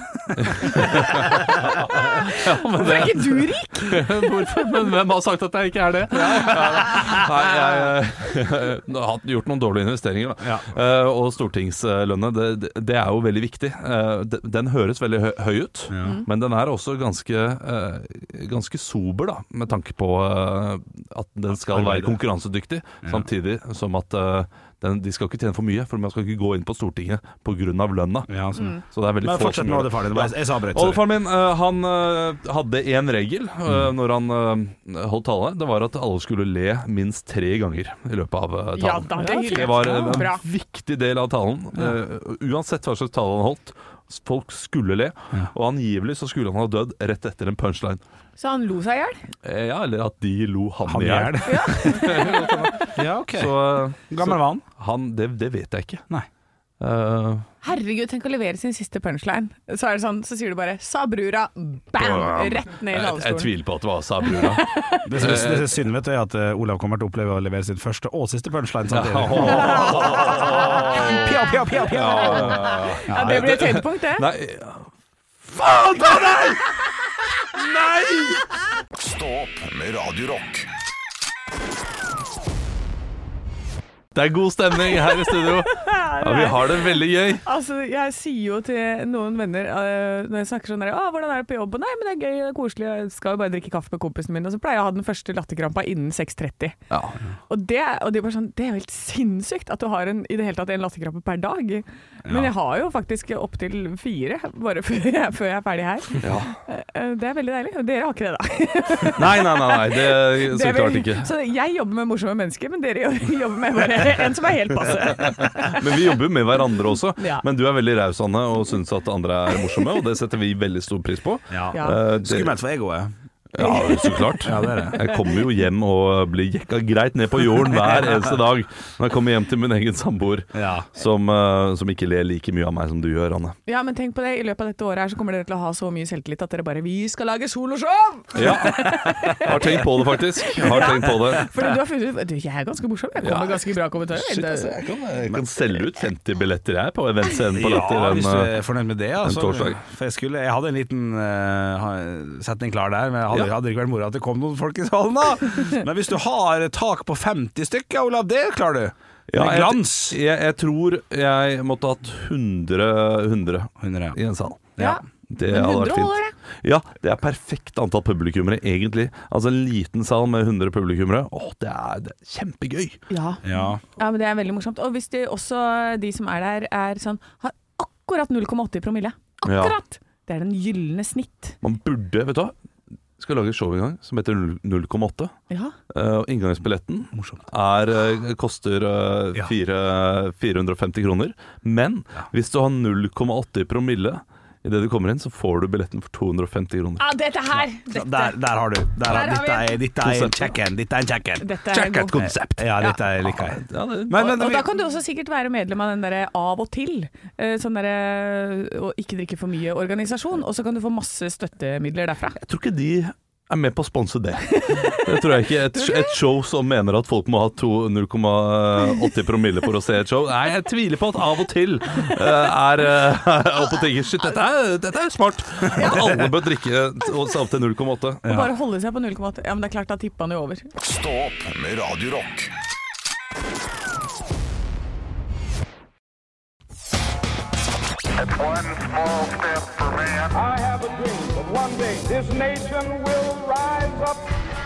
[SPEAKER 4] Hvorfor er ikke du rik?
[SPEAKER 3] Hvorfor? Men hvem har sagt at jeg ikke er det? Nei, jeg, eh, har gjort noen dårlige investeringer, da.
[SPEAKER 5] Ja.
[SPEAKER 3] Eh, og stortingslønnet, det, det- det er jo veldig viktig. Eh, de- den høres veldig hø høy ut, men den er også ganske, eh, ganske sober, da, med tanke på eh, at den skal være
[SPEAKER 5] Arbeidet.
[SPEAKER 3] konkurransedyktig, samtidig som at eh, den, de skal ikke tjene for mye, for man skal ikke gå inn på Stortinget pga. lønna.
[SPEAKER 5] Ja, sånn.
[SPEAKER 3] Så det er veldig
[SPEAKER 5] Men
[SPEAKER 3] få
[SPEAKER 5] fortsett
[SPEAKER 3] som
[SPEAKER 5] med
[SPEAKER 3] gjør det.
[SPEAKER 5] oldefaren din.
[SPEAKER 3] Ja.
[SPEAKER 5] Jeg- Jeg sa brett.
[SPEAKER 3] Oldefaren min eh, han eh, hadde én regel eh, når han eh, holdt tale. Det var at alle skulle le minst tre ganger i løpet av eh,
[SPEAKER 4] Ja
[SPEAKER 3] talen.
[SPEAKER 4] da, det er hyggelig.
[SPEAKER 3] det var en,
[SPEAKER 4] Bra.
[SPEAKER 3] en viktig del av talen. eh, uansett hva slags tale han holdt. Folk skulle le, og angivelig så skulle han ha dødd rett etter en punchline.
[SPEAKER 4] Så han lo seg i hjel?
[SPEAKER 3] Eh, Ja, eller at de lo han
[SPEAKER 5] Han
[SPEAKER 3] i hjel.
[SPEAKER 5] Ja, ok.
[SPEAKER 3] Så eh,
[SPEAKER 5] Gammel var han?
[SPEAKER 3] han det, det vet jeg ikke.
[SPEAKER 5] Nei.
[SPEAKER 3] Eh,
[SPEAKER 4] Herregud, tenk å levere sin siste punchline. Så er det sånn, så sier du bare 'sa brura', bam! Rett ned i
[SPEAKER 3] jeg, jeg
[SPEAKER 4] talerstolen.
[SPEAKER 3] tviler på at det var Sabrura.
[SPEAKER 5] Det som det som er synd, vet du, er at eh, Olav kommer til å oppleve å levere sin første og siste punchline samtidig. Pia, pia, pia, pia.
[SPEAKER 4] Ja, det blir et høydepunkt, det.
[SPEAKER 3] Nei Faen ta deg! Nei!
[SPEAKER 2] Stå opp med Radio Rock.
[SPEAKER 3] Det er god stemning her i studio. Ja, vi har det veldig gøy.
[SPEAKER 4] Altså, jeg sier jo til noen venner eh, når jeg snakker sånn der, «Å, 'Hvordan er det på jobb?' Nei, men det er gøy, det er koselig, jeg skal jo bare drikke kaffe med kompisen min. Og så pleier jeg å ha den første latterkrampa innen 6.30. Og det, og de er bare sånn, det er jo helt sinnssykt at du har en, i det hele tatt en latterkrampe per dag. Men jeg har jo faktisk opptil fire, bare før jeg, før jeg er ferdig her. Eh, Det er veldig deilig. Og dere har ikke det, da.
[SPEAKER 3] Nei, nei, nei, nei det er
[SPEAKER 4] Det
[SPEAKER 3] så
[SPEAKER 4] er
[SPEAKER 3] klart
[SPEAKER 4] vel-
[SPEAKER 3] ikke.
[SPEAKER 4] Så jeg jobber med morsomme mennesker, men dere jo- jobber med bare en som er helt passe.
[SPEAKER 3] Men vi jobber jo med hverandre også.
[SPEAKER 4] Ja.
[SPEAKER 3] Men du er veldig raus, Anne, og syns at andre er morsomme, og det setter vi veldig stor pris på.
[SPEAKER 4] Ja.
[SPEAKER 3] Eh, det,
[SPEAKER 5] Skummelt for egoet.
[SPEAKER 3] ja, så klart. Jeg kommer jo hjem og blir jekka greit ned på jorden hver eneste dag når jeg kommer hjem til min egen samboer,
[SPEAKER 5] Ja.
[SPEAKER 3] som, eh, som ikke ler like mye av meg som du gjør, Anne.
[SPEAKER 4] Ja, men tenk på det. I løpet av dette året her så kommer dere til å ha så mye selvtillit at dere bare Vi skal lage soloshow!
[SPEAKER 3] Ja. Har tenkt på det, faktisk. Har tenkt på det.
[SPEAKER 4] Fordi du har funnet ut Du, jeg er ganske morsom. Jeg kommer med ganske bra kommentarer.
[SPEAKER 3] Shit, altså,
[SPEAKER 4] Det-
[SPEAKER 3] jeg kan, jeg kan selge ut 50 billetter jeg på eventscenen på Latter.
[SPEAKER 5] Ja,
[SPEAKER 3] en,
[SPEAKER 5] hvis du
[SPEAKER 3] eh,
[SPEAKER 5] er fornøyd med det. Altså.
[SPEAKER 3] torsdag.
[SPEAKER 5] For jeg, skulle, jeg hadde en liten eh, ha- setning klar der, men jeg hadde,
[SPEAKER 3] Ja.
[SPEAKER 5] hadde ikke vært moro at det kom noen folk i salen da. Men hvis du har tak på 50 stykker, Olav, det klarer du.
[SPEAKER 3] ja,
[SPEAKER 5] med
[SPEAKER 3] jeg-
[SPEAKER 5] glans.
[SPEAKER 3] Jeg, jeg tror jeg måtte hatt 100, 100
[SPEAKER 5] 100,
[SPEAKER 3] i en sal.
[SPEAKER 5] Ja.
[SPEAKER 3] Det
[SPEAKER 4] Men
[SPEAKER 3] hadde
[SPEAKER 4] 100
[SPEAKER 3] vært
[SPEAKER 4] holder,
[SPEAKER 3] fint.
[SPEAKER 4] det.
[SPEAKER 3] Ja, det er perfekt antall publikummere, egentlig. Altså en liten sal med 100 publikummere. Åh, det er, det er kjempegøy!
[SPEAKER 4] Ja.
[SPEAKER 5] Ja.
[SPEAKER 4] ja, men det er veldig morsomt. Og hvis de, også de som er der, er sånn Har akkurat 0,80 promille.
[SPEAKER 3] Ja.
[SPEAKER 4] Akkurat! Det er den gylne snitt.
[SPEAKER 3] Man burde, vet du hva Skal lage et show en gang som heter 0,8.
[SPEAKER 4] Ja.
[SPEAKER 3] Eh, Og inngangsbilletten
[SPEAKER 5] Morsomt.
[SPEAKER 3] er, eh, koster eh,
[SPEAKER 5] Ja.
[SPEAKER 3] fire- 450 kroner. Men hvis du har 0,80 promille idet du kommer inn, så får du billetten for 250 kroner.
[SPEAKER 4] ja dette her! Dette,
[SPEAKER 5] Der, der har du. Der,
[SPEAKER 4] har vi
[SPEAKER 5] dette er, dette er en
[SPEAKER 3] Konseptet.
[SPEAKER 5] kjekken. Dette er en kjekken.
[SPEAKER 4] dette er en god.
[SPEAKER 5] konsept. Ja, dette er liker jeg.
[SPEAKER 3] Ja, det,
[SPEAKER 5] Men, men,
[SPEAKER 4] Og da kan du også sikkert være medlem av den derre av og til, eh, sånn derre eh, å ikke drikke for mye-organisasjon, og så kan du få masse støttemidler derfra.
[SPEAKER 3] Jeg tror ikke de er med på å sponse det. Det tror jeg ikke. Et, et show som mener at folk må ha to- 0,80 promille for å se et show. Nei, jeg tviler på at av og til eh, er eh, oppe og tenker Shit, dette er, dette er smart. Alle bør drikke og seg opp til 0,8.
[SPEAKER 4] Og bare holde seg på 0,8. Ja, men det er klart, da tipper han jo over.
[SPEAKER 2] Stå opp med Radio Rock.
[SPEAKER 1] One small step for man.
[SPEAKER 6] I have a dream that one day this nation will rise up.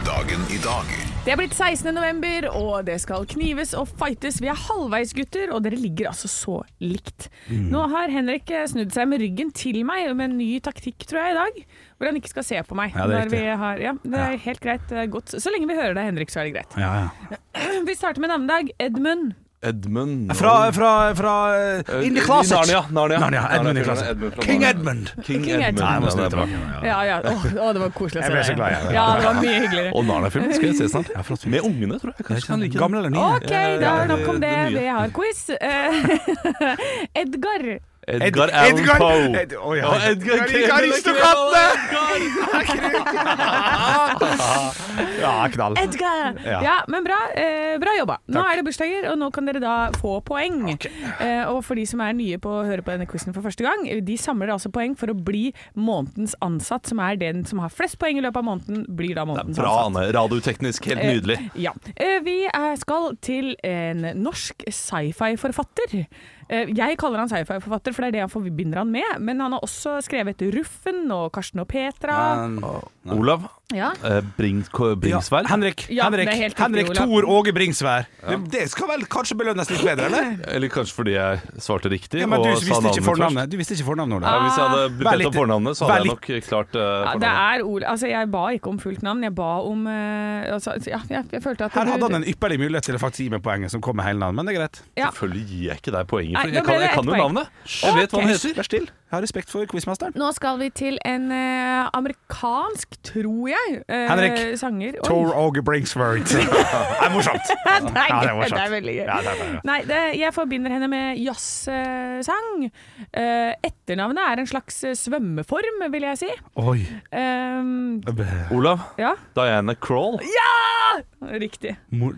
[SPEAKER 2] Dagen i dag
[SPEAKER 4] Det er blitt 16. november, og det skal knives og fightes. Vi er halvveis, gutter, og dere ligger altså så likt.
[SPEAKER 5] Mm.
[SPEAKER 4] Nå har Henrik eh, snudd seg med ryggen til meg med en ny taktikk, tror jeg, i dag. Hvor han ikke skal se på meg.
[SPEAKER 5] Ja, det er
[SPEAKER 4] når
[SPEAKER 5] riktig.
[SPEAKER 4] vi har, ja, det er helt greit. eh, Godt. Så lenge vi hører deg, Henrik, så er det greit.
[SPEAKER 5] ja, ja.
[SPEAKER 4] Vi starter med navnedag. Edmund.
[SPEAKER 3] Edmund
[SPEAKER 5] Fra, fra, fra eh, In the closet.
[SPEAKER 3] Narnia. Narnia.
[SPEAKER 5] Narnia, Edmund i closet. King Edmund.
[SPEAKER 3] King
[SPEAKER 4] King Edmund.
[SPEAKER 3] Edmund.
[SPEAKER 5] Nei, jeg må snu
[SPEAKER 3] Ja, det er bra.
[SPEAKER 5] tilbake. nå, ja.
[SPEAKER 4] Ja, ja. Åh, åh, det var koselig å se
[SPEAKER 5] Ah. Jeg ble
[SPEAKER 4] deg
[SPEAKER 5] så glad,
[SPEAKER 4] igjen.
[SPEAKER 5] jeg.
[SPEAKER 4] Ja, det var mye hyggeligere.
[SPEAKER 3] Og Narnia-film skal jeg se snart. Med ungene, tror jeg. Kanskje han liker
[SPEAKER 5] Gamle eller nye?
[SPEAKER 4] OK, da er nok om det.
[SPEAKER 3] det nye.
[SPEAKER 4] Vi har quiz. Eh, Edgar.
[SPEAKER 3] den. Edgar Allan
[SPEAKER 5] Edgar-
[SPEAKER 3] Poe.
[SPEAKER 5] Ed- Å, ja.
[SPEAKER 3] Og Edgar
[SPEAKER 5] Jeg liker
[SPEAKER 3] Kevin og
[SPEAKER 5] aristokratene! Ja, knall.
[SPEAKER 4] Edgar!
[SPEAKER 5] Ja.
[SPEAKER 4] Ja, men bra. Eh, bra jobba. Nå er det bursdager, og nå kan dere da få poeng. Eh, og for de som er nye på å høre på denne quizen for første gang, de samler altså poeng for å bli månedens ansatt, som er den som har flest poeng i løpet av måneden, blir da månedens
[SPEAKER 3] Bra,
[SPEAKER 4] ansatt.
[SPEAKER 3] Anne. Radioteknisk helt nydelig.
[SPEAKER 4] Eh, Ja. Eh, Vi eh, skal til en norsk sci-fi-forfatter. Eh, Jeg kaller han sci-fi-forfatter, for det er det han forbinder han med. Men han har også skrevet 'Ruffen' og 'Karsten og Petra'.
[SPEAKER 3] Olav
[SPEAKER 4] Ja.
[SPEAKER 3] eh, Bring, Bringsværd.
[SPEAKER 5] Ja, Henrik,
[SPEAKER 4] Ja, det er
[SPEAKER 5] Henrik,
[SPEAKER 4] helt riktig,
[SPEAKER 5] Henrik
[SPEAKER 4] Olav.
[SPEAKER 5] Thor Åge Bringsvær. Det- Det skal vel kanskje belønnes litt bedre, eller?
[SPEAKER 3] Eller kanskje fordi jeg svarte riktig.
[SPEAKER 5] Ja, men du
[SPEAKER 3] og sa
[SPEAKER 5] visste ikke
[SPEAKER 3] navnet
[SPEAKER 5] fornavnet, du visste ikke fornavnet
[SPEAKER 3] først. Ja,
[SPEAKER 5] Olav.
[SPEAKER 3] hvis jeg hadde blitt
[SPEAKER 5] Vær
[SPEAKER 3] bedt om
[SPEAKER 5] litt-
[SPEAKER 3] fornavnet, så
[SPEAKER 5] vær
[SPEAKER 3] hadde jeg nok
[SPEAKER 5] litt-
[SPEAKER 3] klart eh,
[SPEAKER 4] Ja, det
[SPEAKER 3] fornavnet.
[SPEAKER 4] er Olav. Altså, jeg ba ikke om fullt navn, jeg ba om eh, altså, ja, jeg, jeg følte at
[SPEAKER 5] Her
[SPEAKER 4] du-
[SPEAKER 5] hadde han en ypperlig mulighet til å faktisk gi meg poenget som kom med hele navnet, men det er greit.
[SPEAKER 4] ja.
[SPEAKER 3] Selvfølgelig gir jeg ikke deg poenget,
[SPEAKER 4] Nei,
[SPEAKER 3] for
[SPEAKER 4] nå
[SPEAKER 3] jeg
[SPEAKER 4] ble
[SPEAKER 3] kan,
[SPEAKER 4] det
[SPEAKER 3] jeg
[SPEAKER 4] ett
[SPEAKER 3] kan jo
[SPEAKER 4] poeng.
[SPEAKER 3] navnet. Jeg vet hva han heter.
[SPEAKER 5] Vær stille. Jeg har respekt for quizmasteren.
[SPEAKER 4] Nå skal vi til en eh, amerikansk, tror jeg, eh,
[SPEAKER 5] Henrik.
[SPEAKER 4] sanger. Oi.
[SPEAKER 5] Thor Åge Bringsvær. Det er morsomt.
[SPEAKER 4] Ja, det er,
[SPEAKER 5] Ja, det er
[SPEAKER 4] gøy.
[SPEAKER 5] morsomt.
[SPEAKER 4] det er veldig gøy.
[SPEAKER 5] Ja, det er bra, ja.
[SPEAKER 4] Nei, det, jeg forbinder henne med jazzsang. Eh, etternavnet er en slags eh, svømmeform, vil jeg si.
[SPEAKER 5] Oi.
[SPEAKER 4] Ehm,
[SPEAKER 3] Olav
[SPEAKER 4] ja.
[SPEAKER 3] Diana Crawl.
[SPEAKER 4] Riktig.
[SPEAKER 5] Mor-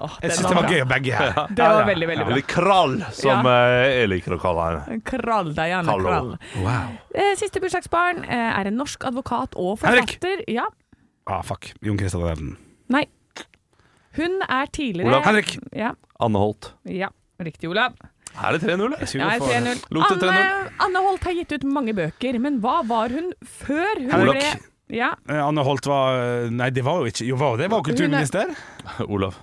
[SPEAKER 4] Åh, den
[SPEAKER 5] Jeg syns det var
[SPEAKER 4] bra.
[SPEAKER 5] gøy å begge her.
[SPEAKER 4] Det var veldig, veldig bra.
[SPEAKER 3] Eller Krall, som
[SPEAKER 4] Ja.
[SPEAKER 3] eh, jeg liker å kalle henne.
[SPEAKER 4] Krall, Diana
[SPEAKER 3] Hallo.
[SPEAKER 4] Krall.
[SPEAKER 5] Wow.
[SPEAKER 4] Eh, siste bursdagsbarn eh, er en norsk advokat og
[SPEAKER 5] Henrik!
[SPEAKER 4] forfatter. Ja.
[SPEAKER 5] Ah, fuck. Jon Christian Elden.
[SPEAKER 4] Nei. Hun er tidligere
[SPEAKER 3] Olav.
[SPEAKER 5] Henrik.
[SPEAKER 4] Ja.
[SPEAKER 3] Anne Holt.
[SPEAKER 4] ja. Riktig, Olav.
[SPEAKER 3] Er det 3-0? eller?
[SPEAKER 4] Ja, jeg er 3-0.
[SPEAKER 3] Lot det 3-0?
[SPEAKER 4] Anne, Anne Holt har gitt ut mange bøker, men hva var hun før hun
[SPEAKER 5] Henrik.
[SPEAKER 4] ble ja.
[SPEAKER 5] Eh, Anne Holt var Nei, det var jo ikke Jo, var det var jo kulturminister.
[SPEAKER 3] Olav.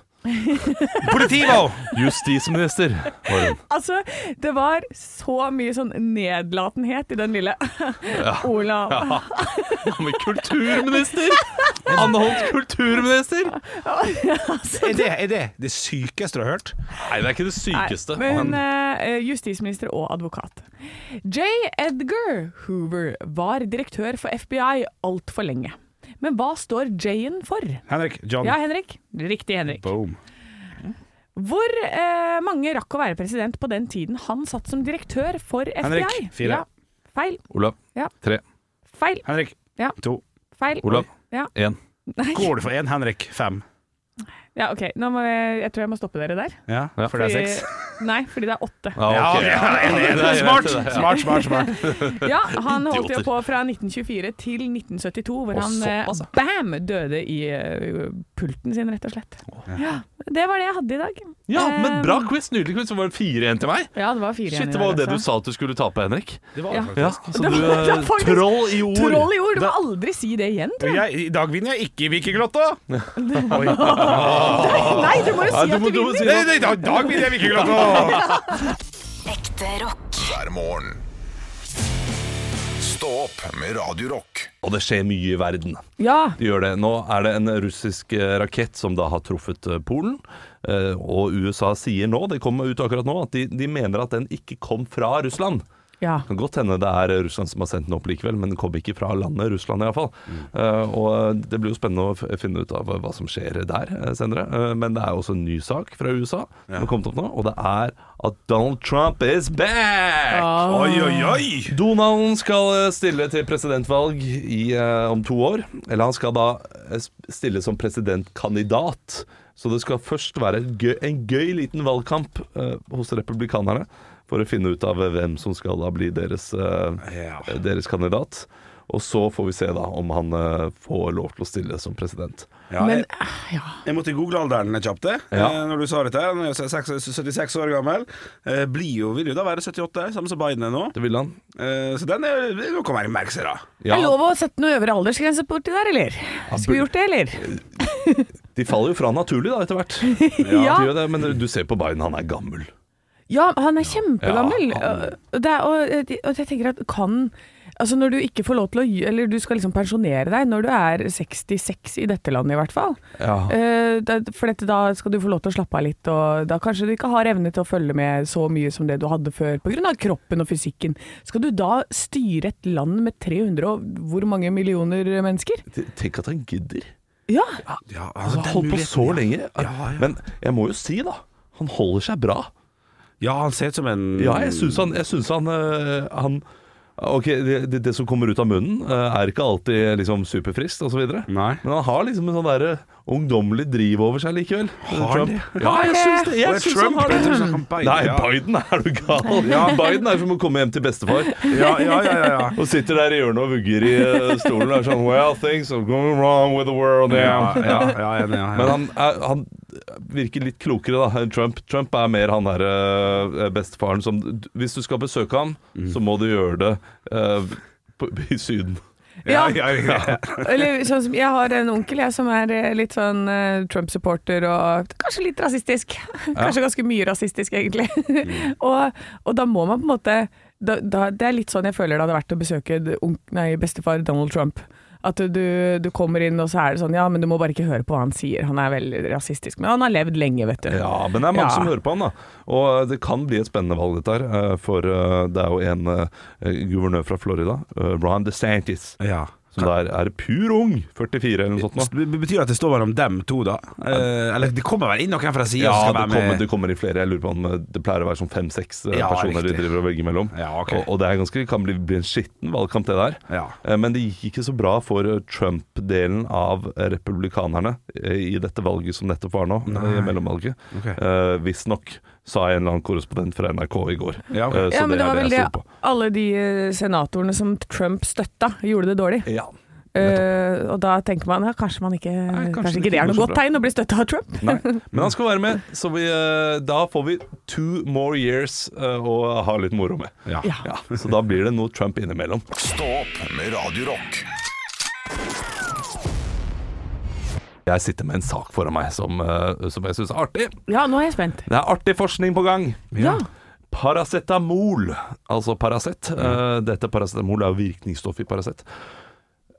[SPEAKER 5] Politivo!
[SPEAKER 3] Justisminister var hun.
[SPEAKER 4] Altså, det var så mye sånn nedlatenhet i den lille Olav.
[SPEAKER 3] Men kulturminister! Anne Holt kulturminister!
[SPEAKER 5] Er det, er det det sykeste du har hørt?
[SPEAKER 3] Nei, det er ikke det sykeste.
[SPEAKER 4] Men hun eh, justisminister og advokat. J. Edgar Hoover var direktør for FBI altfor lenge. Men hva står J-en for?
[SPEAKER 5] Henrik. John.
[SPEAKER 4] Ja, Henrik. Riktig, Henrik.
[SPEAKER 5] Boom.
[SPEAKER 4] Hvor eh, mange rakk å være president på den tiden han satt som direktør for FBI?
[SPEAKER 5] Henrik, fire.
[SPEAKER 4] Ja. Feil,
[SPEAKER 3] Olav.
[SPEAKER 4] Ja.
[SPEAKER 3] Tre.
[SPEAKER 4] feil,
[SPEAKER 5] Henrik.
[SPEAKER 4] Ja.
[SPEAKER 5] To.
[SPEAKER 4] feil.
[SPEAKER 3] Olav.
[SPEAKER 4] Ja.
[SPEAKER 3] Én.
[SPEAKER 4] Nei.
[SPEAKER 5] Går du for én, Henrik? Fem.
[SPEAKER 4] Ja, OK. Nå må jeg, jeg tror jeg må stoppe dere der.
[SPEAKER 5] Ja, for det er seks.
[SPEAKER 4] Fordi- Nei, fordi det er åtte.
[SPEAKER 3] ok.
[SPEAKER 5] Smart, smart, smart. smart.
[SPEAKER 4] Ja, han holdt jo
[SPEAKER 3] Idioter.
[SPEAKER 4] på fra 1924 til 1972, hvor
[SPEAKER 3] Å, altså.
[SPEAKER 4] han eh,
[SPEAKER 3] såpass, ja.
[SPEAKER 4] bam døde i eh, pulten sin, rett og slett. Ja, Det var det jeg hadde i dag.
[SPEAKER 3] Ja, men bra
[SPEAKER 4] Eh,
[SPEAKER 3] quiz. Nydelig quiz. Så var det 4-1 til meg.
[SPEAKER 4] Ja, det var fire
[SPEAKER 3] Shit,
[SPEAKER 4] igjen i
[SPEAKER 3] det var jo
[SPEAKER 4] dag,
[SPEAKER 3] det du
[SPEAKER 4] altså.
[SPEAKER 3] sa at du skulle tape, Henrik.
[SPEAKER 5] Det var
[SPEAKER 4] Ja.
[SPEAKER 5] det
[SPEAKER 3] Ja,
[SPEAKER 5] faktisk.
[SPEAKER 3] så
[SPEAKER 4] Det
[SPEAKER 3] du
[SPEAKER 4] var- det var
[SPEAKER 3] eh,
[SPEAKER 4] faktisk-
[SPEAKER 3] Troll i ord.
[SPEAKER 4] Troll i ord! Du må
[SPEAKER 3] Det-
[SPEAKER 4] aldri si det igjen, tror jeg.
[SPEAKER 5] Jeg, I dag vinner jeg ikke i Vikinglotto! Oi.
[SPEAKER 4] Nei, du må jo
[SPEAKER 3] Ah. Nei,
[SPEAKER 4] si
[SPEAKER 3] du
[SPEAKER 4] at
[SPEAKER 3] må-
[SPEAKER 4] du
[SPEAKER 3] du må si-
[SPEAKER 4] vinner!
[SPEAKER 5] Nei, nei, I dag, i dag vinner jeg Vikinglotto!
[SPEAKER 7] Ekte rock.
[SPEAKER 2] hver morgen. Stå opp med Radio Rock.
[SPEAKER 3] Og det skjer mye i verden.
[SPEAKER 4] Ja.
[SPEAKER 3] Det gjør det. Nå er det en russisk eh, rakett som da har truffet eh, Polen. Eh, Og USA sier nå, det kom ut akkurat nå, at de, de mener at den ikke kom fra Russland.
[SPEAKER 4] ja.
[SPEAKER 3] Det kan godt hende det er eh, Russland som har sendt den opp likevel, men den kom ikke fra landet Russland iallfall. Uh, og det blir jo spennende å f- finne ut av hva som skjer der eh, senere. Eh, men det er også en ny sak fra USA som har kommet opp nå, og det er at Donald Trump is back!
[SPEAKER 5] Oi, oi, oi!
[SPEAKER 3] Donald skal eh, stille til presidentvalg i, eh, om to år. Eller han skal da eh, sp- stille som presidentkandidat. Så det skal først være en gøy, en gøy liten valgkamp eh, hos republikanerne for å finne ut av eh, hvem som skal da bli deres, eh,
[SPEAKER 5] Ja.
[SPEAKER 3] deres kandidat. Og så får vi se da om han eh, får lov til å stille som president.
[SPEAKER 5] Ja,
[SPEAKER 4] Men ah,
[SPEAKER 5] jeg, jeg måtte google alderen kjapt det,
[SPEAKER 3] Ja.
[SPEAKER 5] eh, når du sa dette. Han er jo seks- 76 år gammel. Eh, Blir jo, vil jo da være 78, samme som Biden er nå.
[SPEAKER 3] Det vil han.
[SPEAKER 5] Eh, Så den er nå kan man merke seg, da.
[SPEAKER 4] er det lov å sette noe øvre aldersgrense borti der, eller? Skulle vi gjort det, eller?
[SPEAKER 3] de faller jo fra naturlig da etter hvert.
[SPEAKER 4] Ja.
[SPEAKER 3] De gjør det, men du ser på Biden, han er gammel.
[SPEAKER 4] Ja, han er kjempegammel.
[SPEAKER 3] Ja, han-
[SPEAKER 4] Og Det er, og, eh, og jeg tenker at kan Altså Når du ikke får lov til å gj- Eller du skal liksom pensjonere deg når du er 66 i dette landet, i hvert fall.
[SPEAKER 3] Ja.
[SPEAKER 4] Eh, da, for dette, da skal du få lov til å slappe av litt, og da kanskje du ikke har evne til å følge med så mye som det du hadde før pga. kroppen og fysikken. Skal du da styre et land med 300 og hvor mange millioner mennesker?
[SPEAKER 3] Tenk at han gidder.
[SPEAKER 4] Ja!
[SPEAKER 5] Ja,
[SPEAKER 3] Altså,
[SPEAKER 5] den
[SPEAKER 3] holdt på
[SPEAKER 5] muligheten,
[SPEAKER 3] så
[SPEAKER 5] ja.
[SPEAKER 3] lenge.
[SPEAKER 5] ja.
[SPEAKER 3] Men jeg må jo si, da. Han holder seg bra.
[SPEAKER 5] Ja, han ser ut som en
[SPEAKER 3] Ja, jeg syns han, jeg syns han, øh, han Ok, det, det, det som kommer ut av munnen, øh, er ikke alltid liksom superfriskt osv. Men
[SPEAKER 5] Nei.
[SPEAKER 3] han har liksom en sånn derre ungdommelig driv over seg likevel. eh,
[SPEAKER 5] Har han det?
[SPEAKER 3] Ja, jeg syns det. Jeg
[SPEAKER 5] Det er
[SPEAKER 3] syns han
[SPEAKER 5] Trump,
[SPEAKER 3] har
[SPEAKER 5] jeg tror
[SPEAKER 3] det.
[SPEAKER 5] han kan beide,
[SPEAKER 3] Nei,
[SPEAKER 5] ja.
[SPEAKER 3] Biden er du gal. Biden er som å komme hjem til bestefar.
[SPEAKER 5] Ja, ja, ja, ja, ja.
[SPEAKER 3] Og sitter der i hjørnet og vugger i øh, stolen og er sånn Well, things are going wrong with the world.
[SPEAKER 5] Ja,
[SPEAKER 3] Yeah.
[SPEAKER 5] ja, ja, enig, ja, ja.
[SPEAKER 3] Men han, er, han virker litt klokere da enn Trump. Trump er mer han derre bestefaren som Hvis du skal besøke ham, så må du gjøre det eh, på, i Syden.
[SPEAKER 5] ja, ja, ja, ja.
[SPEAKER 4] Eller sånn som Jeg har en onkel jeg som er eh, litt sånn eh, Trump-supporter og kanskje litt rasistisk. Kanskje ganske mye rasistisk, egentlig.
[SPEAKER 3] Mm.
[SPEAKER 4] og, og da må man på en måte da, da, Det er litt sånn jeg føler det hadde vært å besøke d- onk- nei, bestefar Donald Trump. At du, du kommer inn, og så er det sånn Ja, men du må bare ikke høre på hva han sier. Han er veldig rasistisk. Men han har levd lenge, vet du.
[SPEAKER 3] Ja, men det er mange
[SPEAKER 4] Ja.
[SPEAKER 3] som hører på han, da. Og eh, det kan bli et spennende valg, dette her. eh, For eh, det er jo en eh, guvernør fra Florida, eh, Ron DeSantis,
[SPEAKER 5] ja.
[SPEAKER 3] som der er pur ung, 44 eller
[SPEAKER 5] Sånn
[SPEAKER 3] noe sånt. nå.
[SPEAKER 5] Det betyr at det står mellom dem to, da? Eh, eller det kommer vel inn noen fra sida?
[SPEAKER 3] Ja, det kommer, det kommer i flere. Jeg lurer på om eh, det pleier å være sånn fem-seks eh,
[SPEAKER 5] Ja,
[SPEAKER 3] personer
[SPEAKER 5] riktig.
[SPEAKER 3] de driver og velger mellom.
[SPEAKER 5] Ja, ok.
[SPEAKER 3] Og, og det er ganske, kan bli, bli en skitten valgkamp, det der.
[SPEAKER 5] Ja.
[SPEAKER 3] Eh, Men det gikk ikke så bra for eh, Trump-delen av republikanerne eh, i dette valget som nettopp var nå, eh, i mellomvalget.
[SPEAKER 5] Ok.
[SPEAKER 3] Eh, Visstnok, sa en eller annen korrespondent fra NRK i går.
[SPEAKER 5] Ja, ok.
[SPEAKER 3] Eh,
[SPEAKER 4] Ja,
[SPEAKER 3] så
[SPEAKER 4] men det var
[SPEAKER 3] er
[SPEAKER 4] vel
[SPEAKER 3] jeg
[SPEAKER 4] det
[SPEAKER 3] stoler på.
[SPEAKER 4] alle de eh, senatorene som Trump støtta, gjorde det dårlig.
[SPEAKER 3] Ja.
[SPEAKER 4] Eh, og da tenker man ja, kanskje man ikke
[SPEAKER 3] kanskje
[SPEAKER 4] Kanskje,
[SPEAKER 3] det
[SPEAKER 4] ikke det er noe
[SPEAKER 3] ikke går så
[SPEAKER 4] godt
[SPEAKER 3] bra.
[SPEAKER 4] tegn å bli støtta av Trump.
[SPEAKER 3] Nei. Men han skal være med, så vi, eh, da får vi two more years eh, å ha litt moro med.
[SPEAKER 5] Ja.
[SPEAKER 3] Ja, så da blir det noe Trump innimellom.
[SPEAKER 2] Stå opp med Radio Rock.
[SPEAKER 3] Jeg sitter med en sak foran meg som, eh, som jeg syns er artig.
[SPEAKER 4] Ja, nå er jeg spent.
[SPEAKER 3] Det er artig forskning på gang.
[SPEAKER 4] Ja.
[SPEAKER 3] Paracetamol, altså Paracet. eh, dette paracetamol er jo virkningsstoff i Paracet.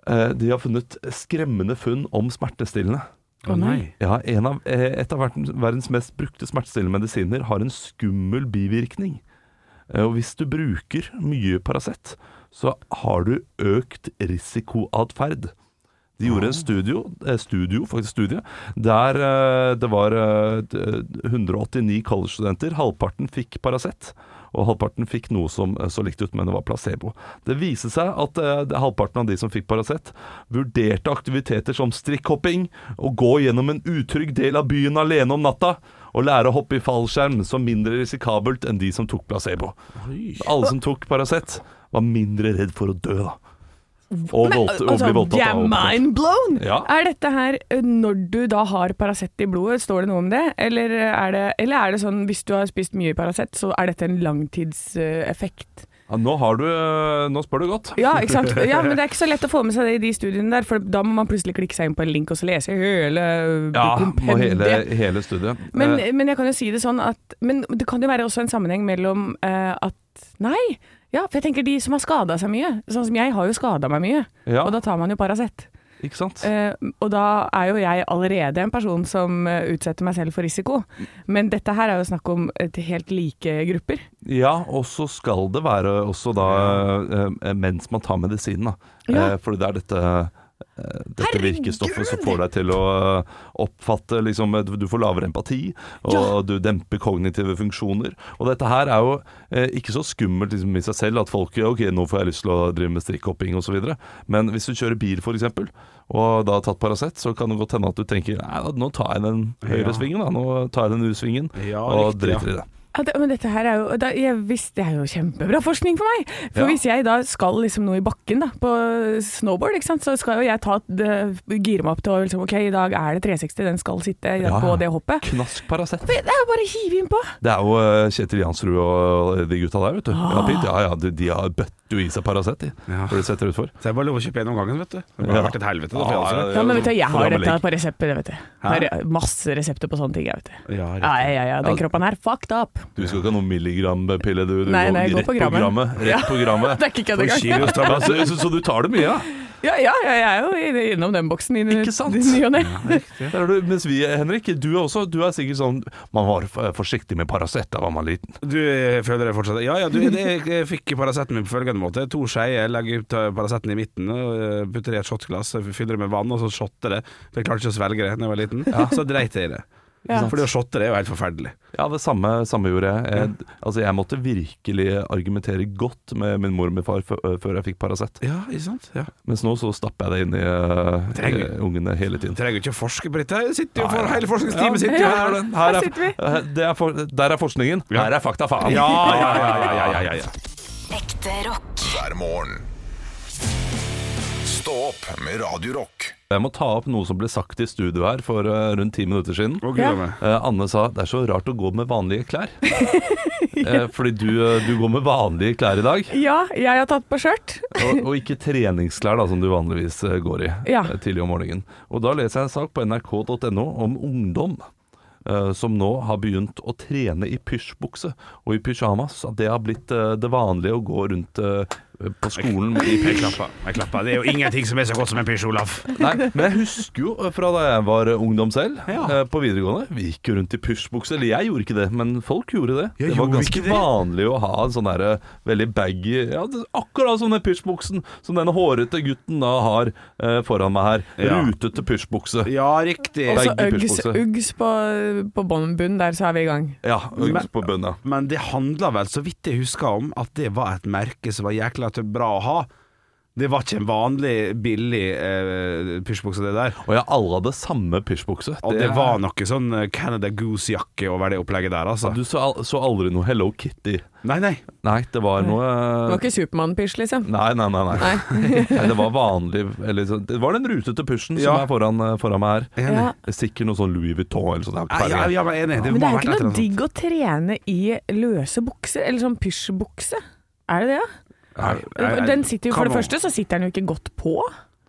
[SPEAKER 3] Eh, de har funnet skremmende funn om smertestillende.
[SPEAKER 4] Å nei.
[SPEAKER 3] Ja, en av, eh, et av verden- verdens mest brukte smertestillende medisiner har en skummel bivirkning. Eh, Og hvis du bruker mye Paracet, så har du økt risikoatferd. De gjorde en studio, eh, studio, faktisk studie der eh, det var eh, d- 189 collegestudenter. Halvparten fikk Paracet, og halvparten fikk noe som eh, så likt ut, men det var placebo. Det viste seg at eh, det- halvparten av de som fikk Paracet, vurderte aktiviteter som strikkhopping, å gå gjennom en utrygg del av byen alene om natta, og lære å hoppe i fallskjerm som mindre risikabelt enn de som tok placebo. Alle som tok Paracet, var mindre redd for å dø, da. Og,
[SPEAKER 4] Men, altså,
[SPEAKER 3] voldt, og bli voldtatt.
[SPEAKER 4] jeg er
[SPEAKER 3] av overfalt.
[SPEAKER 4] mind blown!
[SPEAKER 3] Ja.
[SPEAKER 4] Er dette her ø, når du da har Paracet i blodet, står det noe om det? Eller er det, eller er det sånn hvis du har spist mye Paracet, så er dette en langtidseffekt?
[SPEAKER 3] Ja, nå, har du, eh, nå spør du godt.
[SPEAKER 4] Ja, ikke sant? Ja, men det er ikke så lett å få med seg det i de studiene der, for da må man plutselig klikke seg inn på en link og så lese hele
[SPEAKER 3] Ja, og
[SPEAKER 4] kompendiet.
[SPEAKER 3] hele, hele studiet.
[SPEAKER 4] Men,
[SPEAKER 3] Eh,
[SPEAKER 4] men jeg kan jo si det sånn at Men det kan jo være også en sammenheng mellom eh, at Nei! Ja, for jeg tenker de som har skada seg mye. Sånn som jeg har jo skada meg mye,
[SPEAKER 3] Eh, Ja.
[SPEAKER 4] og da tar man jo Paracet.
[SPEAKER 3] ikke sant?
[SPEAKER 4] Eh, og da er jo jeg allerede en person som eh, utsetter meg selv for risiko. Men dette her er jo snakk om et helt like grupper.
[SPEAKER 3] Ja, og så skal det være også da eh, mens man tar medisinen, da.
[SPEAKER 4] Ja.
[SPEAKER 3] Eh, Fordi det er dette eh, dette virkestoffet som får deg til å eh, oppfatte liksom, eh, Du får lavere empati, og
[SPEAKER 4] Ja.
[SPEAKER 3] du demper kognitive funksjoner. Og dette her er jo eh, ikke så skummelt liksom, i seg selv at folk Ok, nå får jeg lyst til å drive med strikkhopping osv. Men hvis du kjører bil f.eks., og da har tatt Paracet, så kan det godt hende at du tenker Nei, da, nå tar jeg den
[SPEAKER 5] Ja.
[SPEAKER 3] høyre svingen, da. Nå tar jeg den U-svingen,
[SPEAKER 5] Ja,
[SPEAKER 3] og
[SPEAKER 5] riktig, ja.
[SPEAKER 3] driter i det.
[SPEAKER 4] Ja, det, men dette her er jo da, jeg, hvis, Det er jo kjempebra forskning for meg. For
[SPEAKER 3] Ja.
[SPEAKER 4] hvis jeg da skal liksom noe i bakken, da, på snowboard, ikke sant, så skal jo jeg ta det- gire meg opp til å liksom, OK, i dag er det 360, den skal sitte
[SPEAKER 3] Ja.
[SPEAKER 4] på det hoppet.
[SPEAKER 3] Knask Paracet.
[SPEAKER 4] Det er jo bare å hive innpå.
[SPEAKER 3] Det er jo eh, Kjetil Jansrud og de gutta der, vet du. Ja,
[SPEAKER 4] Ah.
[SPEAKER 3] Pete, ja, ja de, de har bøtt jo i seg Paracet, de.
[SPEAKER 5] Ja.
[SPEAKER 3] For de setter utfor.
[SPEAKER 5] Så det er bare lov å kjøpe en om gangen, vet du. Det har
[SPEAKER 3] Ja.
[SPEAKER 5] vært et helvete. Da, for
[SPEAKER 3] Ja,
[SPEAKER 5] jeg
[SPEAKER 3] ja,
[SPEAKER 5] også.
[SPEAKER 4] Ja, men vet du, jeg har
[SPEAKER 3] Programmet
[SPEAKER 4] dette
[SPEAKER 3] ligger.
[SPEAKER 4] på resepter, vet du. Har masse resepter på sånne ting, jeg, vet du.
[SPEAKER 5] Ja, riktig.
[SPEAKER 4] Ja, ja, ja. Den kroppen her, fucked up.
[SPEAKER 3] Du skal ikke ha noen milligrampille, du. du
[SPEAKER 4] Nei,
[SPEAKER 3] går
[SPEAKER 4] nei, jeg går
[SPEAKER 3] rett
[SPEAKER 4] på grammen. Ja.
[SPEAKER 3] Rett på grammet.
[SPEAKER 4] Det er ikke kødd
[SPEAKER 5] For
[SPEAKER 4] engang.
[SPEAKER 5] kilos
[SPEAKER 3] Ja,
[SPEAKER 5] tabla-
[SPEAKER 3] så, så, så du tar det mye, ja?
[SPEAKER 4] Ja, ja, ja, jeg er jo inn- innom den boksen i ny-
[SPEAKER 3] Ikke sant?
[SPEAKER 4] i ny og ne.
[SPEAKER 3] Der er du, mens vi, Henrik, du er også Du er sikkert sånn Man var f- forsiktig med Paracet da var man liten.
[SPEAKER 5] Du eh, føler det fortsatt? Ja, ja, du, det, jeg fikk Paraceten min på følgende måte. To skeier, legger ut eh, Paraceten i midten, og eh, putter i et shotglass, fyller det med vann, og så shotter det. For jeg klarte ikke å svelge det da jeg var liten. Så dreit jeg i det.
[SPEAKER 4] Ja.
[SPEAKER 5] For det å shotte det er jo helt forferdelig.
[SPEAKER 3] Ja, det samme, samme gjorde jeg. jeg. Altså, jeg måtte virkelig argumentere godt med min mor og min far før- før jeg fikk Paracet.
[SPEAKER 5] Ja, ikke sant? Ja.
[SPEAKER 3] Mens nå så stapper jeg det inn i eh,
[SPEAKER 5] Trenger-
[SPEAKER 3] eh, ungene hele tiden.
[SPEAKER 5] Du trenger jo ikke å forske på dette, jeg sitter jo
[SPEAKER 3] Nei.
[SPEAKER 5] for hele forskningsteamet sitt
[SPEAKER 3] Ja,
[SPEAKER 5] jo
[SPEAKER 3] her er
[SPEAKER 5] her.
[SPEAKER 3] den. Her
[SPEAKER 4] Her
[SPEAKER 3] er- eh,
[SPEAKER 4] sitter vi.
[SPEAKER 3] det er for, der er forskningen. Her er fakta faen.
[SPEAKER 5] Ja, ja, ja, ja, ja, ja, ja, ja.
[SPEAKER 7] Ekte rock.
[SPEAKER 2] hver morgen. Stå opp med Radio Rock.
[SPEAKER 3] Jeg må ta opp noe som ble sagt i studio her for eh, rundt ti minutter siden.
[SPEAKER 5] Å,
[SPEAKER 4] Ja.
[SPEAKER 5] gud, meg.
[SPEAKER 3] Eh, Anne sa det er så rart å gå med vanlige klær. Eh, fordi du, eh, du går med vanlige klær i dag,
[SPEAKER 4] Ja, jeg har tatt på skjørt.
[SPEAKER 3] og, og ikke treningsklær da, som du vanligvis eh, går i
[SPEAKER 4] Ja.
[SPEAKER 3] eh, tidlig om morgenen. Og da leser jeg en sak på nrk.no om ungdom. eh, Som nå har begynt å trene i pysjbukse og i pysjamas. At det har blitt eh, det vanlige å gå rundt eh, på skolen i
[SPEAKER 5] Jeg klapper. Jeg klapper. Det er jo ingenting som er så godt som en pysj, Olaf.
[SPEAKER 3] Nei, men jeg husker jo eh, fra da jeg var ungdom selv,
[SPEAKER 5] Ja.
[SPEAKER 3] eh, på videregående. Vi gikk jo rundt i pysjbukse. Eller jeg gjorde ikke det, men folk gjorde det.
[SPEAKER 5] Ja,
[SPEAKER 3] det var
[SPEAKER 5] gjorde vi ikke
[SPEAKER 3] ganske
[SPEAKER 5] det?
[SPEAKER 3] vanlig å ha en sånn derre veldig baggy ja, det, Akkurat som den pysjbuksen som denne hårete gutten da har eh, foran meg her.
[SPEAKER 5] Ja.
[SPEAKER 3] Rutete pysjbukse.
[SPEAKER 5] Ja, riktig.
[SPEAKER 4] Og så
[SPEAKER 3] Begge
[SPEAKER 4] Uggs,
[SPEAKER 3] pysjbukse.
[SPEAKER 4] Uggs på, på bånn- bunn, der så er vi i gang.
[SPEAKER 3] Ja,
[SPEAKER 5] Men-
[SPEAKER 3] på bunnen, ja.
[SPEAKER 5] Men det handla vel, så vidt jeg husker om, at det var et merke som var jækla til bra å ha. Det var ikke en vanlig, billig eh, pysjbukse, det der.
[SPEAKER 3] Og jeg alle hadde samme pysjbukse.
[SPEAKER 5] Og det var noe sånn eh, Canada Goose-jakke over det opplegget der, altså.
[SPEAKER 3] Du så, al- så aldri noe Hello Kitty.
[SPEAKER 5] Nei, nei.
[SPEAKER 3] Nei, det var noe eh,
[SPEAKER 4] Det var ikke Supermann-pysj, liksom.
[SPEAKER 3] Nei, nei, nei. nei. nei det var vanlig eller, så- Det var den rutete pysjen som
[SPEAKER 5] Ja.
[SPEAKER 3] er foran, eh, foran meg her.
[SPEAKER 5] Enig.
[SPEAKER 4] Ja.
[SPEAKER 3] Sikkert noe sånn Louis Vuitton eller sånn.
[SPEAKER 5] Nei, Ja, ja, men enig. Det
[SPEAKER 4] Men
[SPEAKER 5] må
[SPEAKER 4] det er
[SPEAKER 5] ha vært
[SPEAKER 4] ikke
[SPEAKER 5] et
[SPEAKER 4] noe
[SPEAKER 5] eller annet sånt.
[SPEAKER 4] digg å trene i løse bukser, eller sånn pysjbukse. Er det det, da?
[SPEAKER 5] Nei, nei, nei.
[SPEAKER 4] Den sitter jo, for
[SPEAKER 5] Come
[SPEAKER 4] det
[SPEAKER 5] on.
[SPEAKER 4] første så sitter den jo ikke godt på.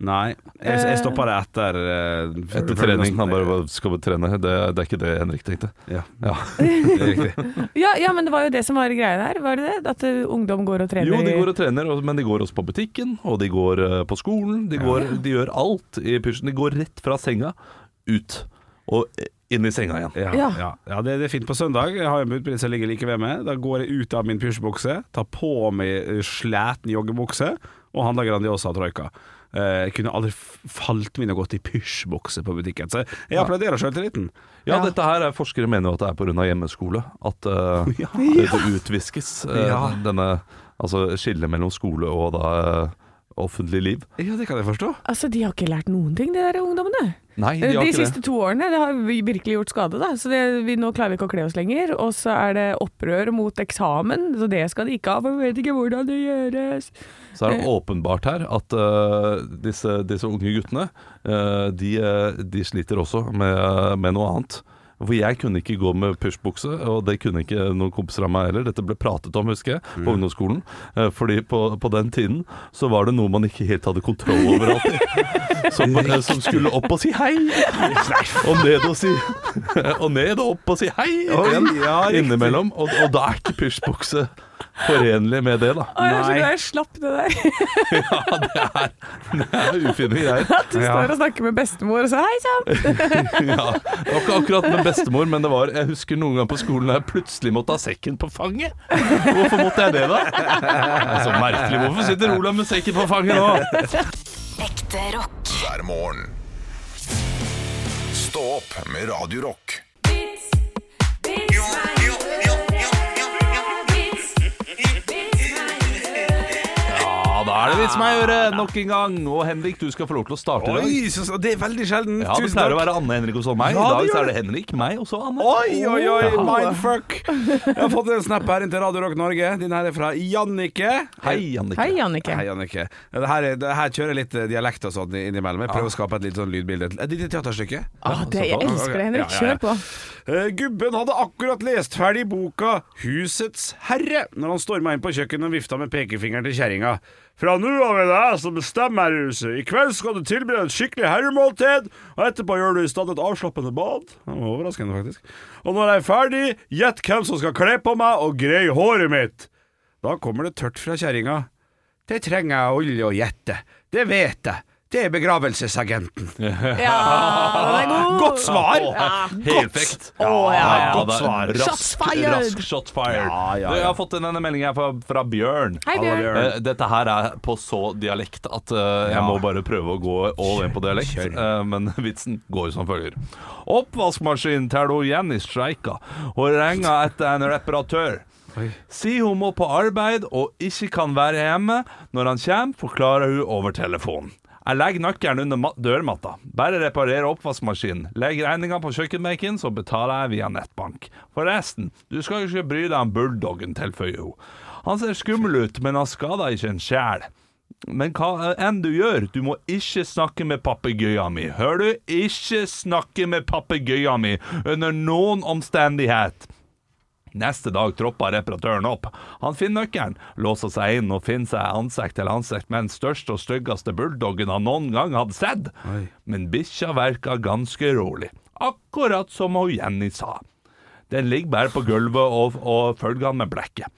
[SPEAKER 5] Nei, jeg, jeg stoppa det etter eh,
[SPEAKER 3] Etter trening. Han bare skal vi trene. Det, det er ikke det Henrik tenkte.
[SPEAKER 5] Ja,
[SPEAKER 3] Ja.
[SPEAKER 5] det er riktig.
[SPEAKER 4] Ja, ja, men det var jo det som var greia der, var det det? At eh, ungdom går og trener
[SPEAKER 3] Jo, de
[SPEAKER 4] i-
[SPEAKER 3] går og trener, og- men de går også på butikken, og de går eh, på skolen. De, går, de gjør alt i pysjen. De går rett fra senga ut, og eh, inn i senga igjen.
[SPEAKER 5] Ja, ja.
[SPEAKER 4] Ja.
[SPEAKER 5] ja. det, det er fint på søndag. Jeg har en budprins som ligger like ved meg. Da går jeg ut av min pysjbukse, tar på meg eh, sliten joggebukse og handler Grandiosa og Troika. Eh, Jeg kunne aldri f- falt meg inn og gått i pysjbukse på butikken. Så jeg applauderer sjøltilliten.
[SPEAKER 3] Ja,
[SPEAKER 4] Ja.
[SPEAKER 3] dette her er Forskere mener jo at det er pga. hjemmeskole at eh,
[SPEAKER 5] Ja.
[SPEAKER 3] dette utviskes. eh,
[SPEAKER 5] Ja.
[SPEAKER 3] Denne altså, skillet mellom skole og da eh, offentlig liv.
[SPEAKER 5] Ja, det kan jeg forstå.
[SPEAKER 4] Altså, de har ikke lært noen ting, de der ungdommene.
[SPEAKER 3] Nei, de
[SPEAKER 4] Eh, De,
[SPEAKER 3] har ikke
[SPEAKER 4] siste
[SPEAKER 3] det.
[SPEAKER 4] to årene det har vi virkelig gjort skade, da. Så det, vi, nå klarer vi ikke å kle oss lenger. Og så er det opprør mot eksamen, så det skal de ikke ha, for vi vet ikke hvordan det gjøres.
[SPEAKER 3] Så er det åpenbart her at eh, disse, disse unge guttene, eh, de, eh, de sliter også med, med noe annet. For jeg kunne ikke gå med pushbukse, og det kunne ikke noen kompiser av meg heller. Dette ble pratet om, husker jeg,
[SPEAKER 5] Mm.
[SPEAKER 3] på ungdomsskolen. Eh, Fordi på, på den tiden så var det noe man ikke helt hadde kontroll over alltid. Som, eh, som skulle opp og si hei, og ned og si Og ned og opp og si hei
[SPEAKER 5] Oi,
[SPEAKER 3] igjen
[SPEAKER 5] ja, riktig.
[SPEAKER 3] innimellom. Og, og da er ikke pushbukse forenlig med det, da.
[SPEAKER 4] Å, jeg er så
[SPEAKER 5] Nei.
[SPEAKER 4] glad jeg slapp det der.
[SPEAKER 3] Ja, det er, det er ufine greier.
[SPEAKER 4] At du står og snakker med bestemor og så 'hei sann'.
[SPEAKER 3] Ja, det var ikke akkurat med bestemor, men det var Jeg husker noen ganger på skolen da jeg plutselig måtte ha sekken på fanget. Hvorfor måtte jeg det, da? Det er så merkelig. Hvorfor sitter Olav med sekken på fanget nå?
[SPEAKER 7] Ekte rock.
[SPEAKER 2] hver morgen. Stå opp med Radio Rock.
[SPEAKER 3] Ja, da er det vits meg å gjøre nok en gang. Og Henrik, du skal få lov til å starte i dag.
[SPEAKER 5] Oi, så, så- det er veldig sjelden.
[SPEAKER 3] Ja, Det
[SPEAKER 5] Tusen
[SPEAKER 3] pleier å
[SPEAKER 5] takk.
[SPEAKER 3] være Anne, Henrik og så meg. I
[SPEAKER 5] Ja,
[SPEAKER 3] dag
[SPEAKER 5] det
[SPEAKER 3] så
[SPEAKER 5] gjør
[SPEAKER 3] er det Henrik, meg og så Anne.
[SPEAKER 5] Oi, oi, oi,
[SPEAKER 3] Ja.
[SPEAKER 5] mindfuck! Jeg har fått en snap her inn til Radio Rock Norge. Din her er fra Jannike.
[SPEAKER 3] Hei, Annike.
[SPEAKER 4] Hei, Jannicke.
[SPEAKER 5] Hei, Annike. Det her, er- det her kjører jeg litt eh, dialekt og sånn innimellom. Jeg prøver å skape et litt sånn lydbilde. Et lite teaterstykke.
[SPEAKER 4] Å, det, jeg
[SPEAKER 5] såpass.
[SPEAKER 4] elsker det,
[SPEAKER 5] Ok,
[SPEAKER 4] Henrik.
[SPEAKER 5] ja, ja, ja.
[SPEAKER 4] Kjør på.
[SPEAKER 5] Eh, Gubben hadde akkurat lest ferdig boka 'Husets herre' når han storma inn på kjøkkenet og vifta med pekefingeren til kjerringa. 'Fra nå av er det jeg som bestemmer her i huset. I kveld skal du tilberede et skikkelig herremåltid, og etterpå gjør du i stand et avslappende bad.' Det var overraskende, faktisk. 'Og når jeg er ferdig, gjett hvem som skal kle på meg og greie håret mitt.' Da kommer det tørt fra kjerringa. 'Det trenger jeg aldri å gjette. Det vet jeg. Det er begravelsesagenten.'
[SPEAKER 4] Ja, den er god.
[SPEAKER 5] Ah, Godt svar!
[SPEAKER 3] Helt frekt.
[SPEAKER 4] Å, ja, ja.
[SPEAKER 5] godt
[SPEAKER 3] det er
[SPEAKER 5] svar.
[SPEAKER 3] Rask,
[SPEAKER 4] Shots fired.
[SPEAKER 3] Rask shot fired.
[SPEAKER 5] Ja, ja, ja.
[SPEAKER 3] Du, jeg har fått inn en melding her fra, fra Bjørn.
[SPEAKER 4] Hei,
[SPEAKER 5] Halla,
[SPEAKER 4] Bjørn.
[SPEAKER 3] Eh, Dette her er på så dialekt at eh, jeg
[SPEAKER 5] Ja.
[SPEAKER 3] må bare prøve å gå all in på dialekt. eh, men vitsen går som følger. Oppvaskmaskinen tar hun Jenny streika og ringer etter en reparatør. Si hun må på arbeid og ikke kan være hjemme. Når han kommer, forklarer hun over telefonen. Jeg legger nøkkelen under ma- dørmatta. Bare reparerer oppvaskmaskinen. Legg regninga på kjøkkenbenken, så betaler jeg via nettbank. Forresten, du skal jo ikke bry deg om bulldoggen, tilføyer hun. Han ser skummel ut, men han skader ikke en sjel. Men hva enn du gjør, du må ikke snakke med papegøyen min. Hører du? Ikke snakke med papegøyen min under noen omstendighet. Neste dag troppa reparatøren opp. Han finner nøkkelen, låser seg inn og finner seg ansikt til ansikt med den største og styggeste bulldoggen han noen gang hadde sett. Men bikkja verka ganske rolig, akkurat som hun Jenny sa. Den ligger bare på gulvet og, og følger han med blekket.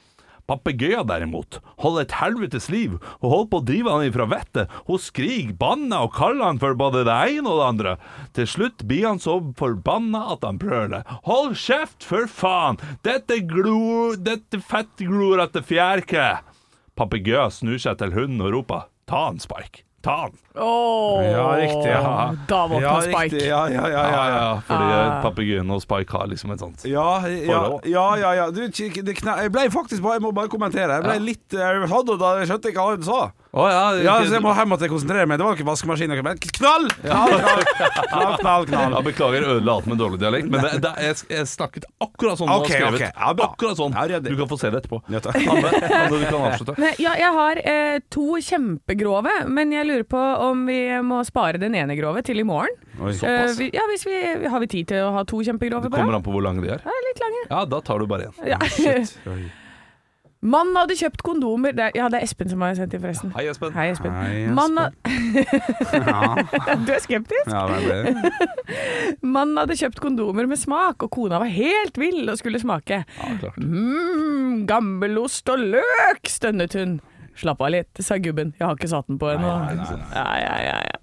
[SPEAKER 3] Papegøyen derimot holder et helvetes liv og holder på å drive han ifra vettet. Hun skriker, banner og kaller han for både det ene og det andre. Til slutt blir han så forbanna at han brøler. Hold kjeft, for faen! Dette glo... Dette fettglorete fjærkre! Papegøyen snur seg til hunden og roper, ta han, Spike. Ta han.
[SPEAKER 4] Åh,
[SPEAKER 5] Ja, riktig. Ja.
[SPEAKER 4] Da våkna
[SPEAKER 5] ja,
[SPEAKER 4] Spike.
[SPEAKER 5] Riktig, ja, ja, ja, ja, ja.
[SPEAKER 3] Fordi eh, papegøyen og Spike har liksom et sånt
[SPEAKER 5] Ja, ja,
[SPEAKER 3] Forhold.
[SPEAKER 5] ja, ja, ja. Du, kikk, det kna jeg ble faktisk bare Jeg må bare kommentere. Jeg ble litt eh, hadde, da, Jeg skjønte ikke hva hun sa.
[SPEAKER 3] Å ja,
[SPEAKER 5] Ja, så jeg må hjem og konsentrere meg. Det var ikke vaskemaskin. Men knall! Knall, knall, knall,
[SPEAKER 3] Ja,
[SPEAKER 5] knall, knall.
[SPEAKER 3] beklager, ødela alt med dårlig dialekt, men det, det, jeg, jeg snakket akkurat sånn du
[SPEAKER 5] Ok,
[SPEAKER 3] har skrevet.
[SPEAKER 5] ok. Ja, bra.
[SPEAKER 3] akkurat sånn.
[SPEAKER 5] Ja, ryddig.
[SPEAKER 3] Du kan få se det etterpå.
[SPEAKER 5] Ja, takk.
[SPEAKER 3] Anne, Anne, du kan avslutte.
[SPEAKER 4] Nei, ja, jeg har eh, to kjempegrove, men jeg lurer på om vi må spare den ene grove til i morgen.
[SPEAKER 5] Oi.
[SPEAKER 4] Eh, vi, ja, hvis vi, har vi tid til å ha to kjempegrove?
[SPEAKER 3] Det
[SPEAKER 4] bare?
[SPEAKER 3] kommer an på hvor lange de er.
[SPEAKER 4] Ja, litt lange.
[SPEAKER 3] Ja, da tar du bare én.
[SPEAKER 4] Ja.
[SPEAKER 5] Oi.
[SPEAKER 4] Mannen hadde kjøpt kondomer det er, Ja, det er Espen som har sendt inn, forresten.
[SPEAKER 3] Hei, Espen.
[SPEAKER 4] Hei, Espen.
[SPEAKER 5] Hei, Espen.
[SPEAKER 4] Mannen had-
[SPEAKER 5] Ja,
[SPEAKER 4] du er skeptisk?
[SPEAKER 5] ja vel, det.
[SPEAKER 4] Mannen hadde kjøpt kondomer med smak, og kona var helt vill og skulle smake. mm, gammelost og løk, stønnet hun. Slapp av litt, sa gubben. Jeg har ikke satt den på ennå. Ja, ja, ja. ja. ja, ja.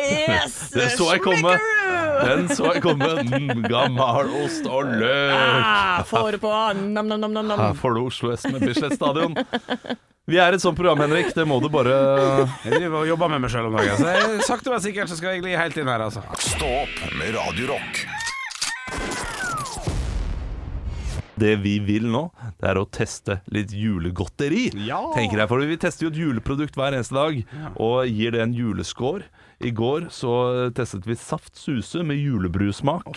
[SPEAKER 4] Yes!
[SPEAKER 3] Det så jeg komme.
[SPEAKER 4] smekkeroo!
[SPEAKER 3] Den så jeg komme. Mm, gammel ost og løk.
[SPEAKER 4] Ah, får på nam-nam-nam-nam.
[SPEAKER 3] Her får du Oslo S med Bislett Stadion. Vi er et sånt program, Henrik. Det må du bare
[SPEAKER 5] Jeg driver og jobber med meg sjøl om dagen, så jeg, sakte, men sikkert så skal jeg gli helt inn her, altså.
[SPEAKER 2] Stå opp med Radio Rock.
[SPEAKER 3] Det vi vil nå, det er å teste litt julegodteri. Tenker jeg, for Vi tester jo et juleprodukt hver eneste dag, og gir det en julescore. I går så testet vi Saft Suse med julebrussmak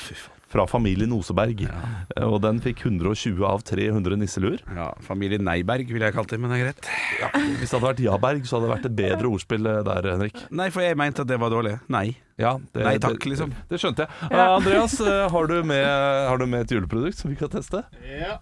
[SPEAKER 3] fra familien Oseberg. Eh, Og den fikk 120 av 300 nisseluer.
[SPEAKER 5] Ja, Familie Neiberg ville jeg kalt det, men det er greit.
[SPEAKER 3] Hvis det hadde vært Jaberg, så hadde det vært et bedre ordspill eh, der, Henrik.
[SPEAKER 5] Nei, for jeg mente at det var dårlig. Nei.
[SPEAKER 3] Ja, det,
[SPEAKER 5] Nei takk,
[SPEAKER 3] det-
[SPEAKER 5] liksom.
[SPEAKER 3] Det skjønte jeg. Eh, Andreas, eh, har du, med, har du med et juleprodukt som vi kan teste? Ja.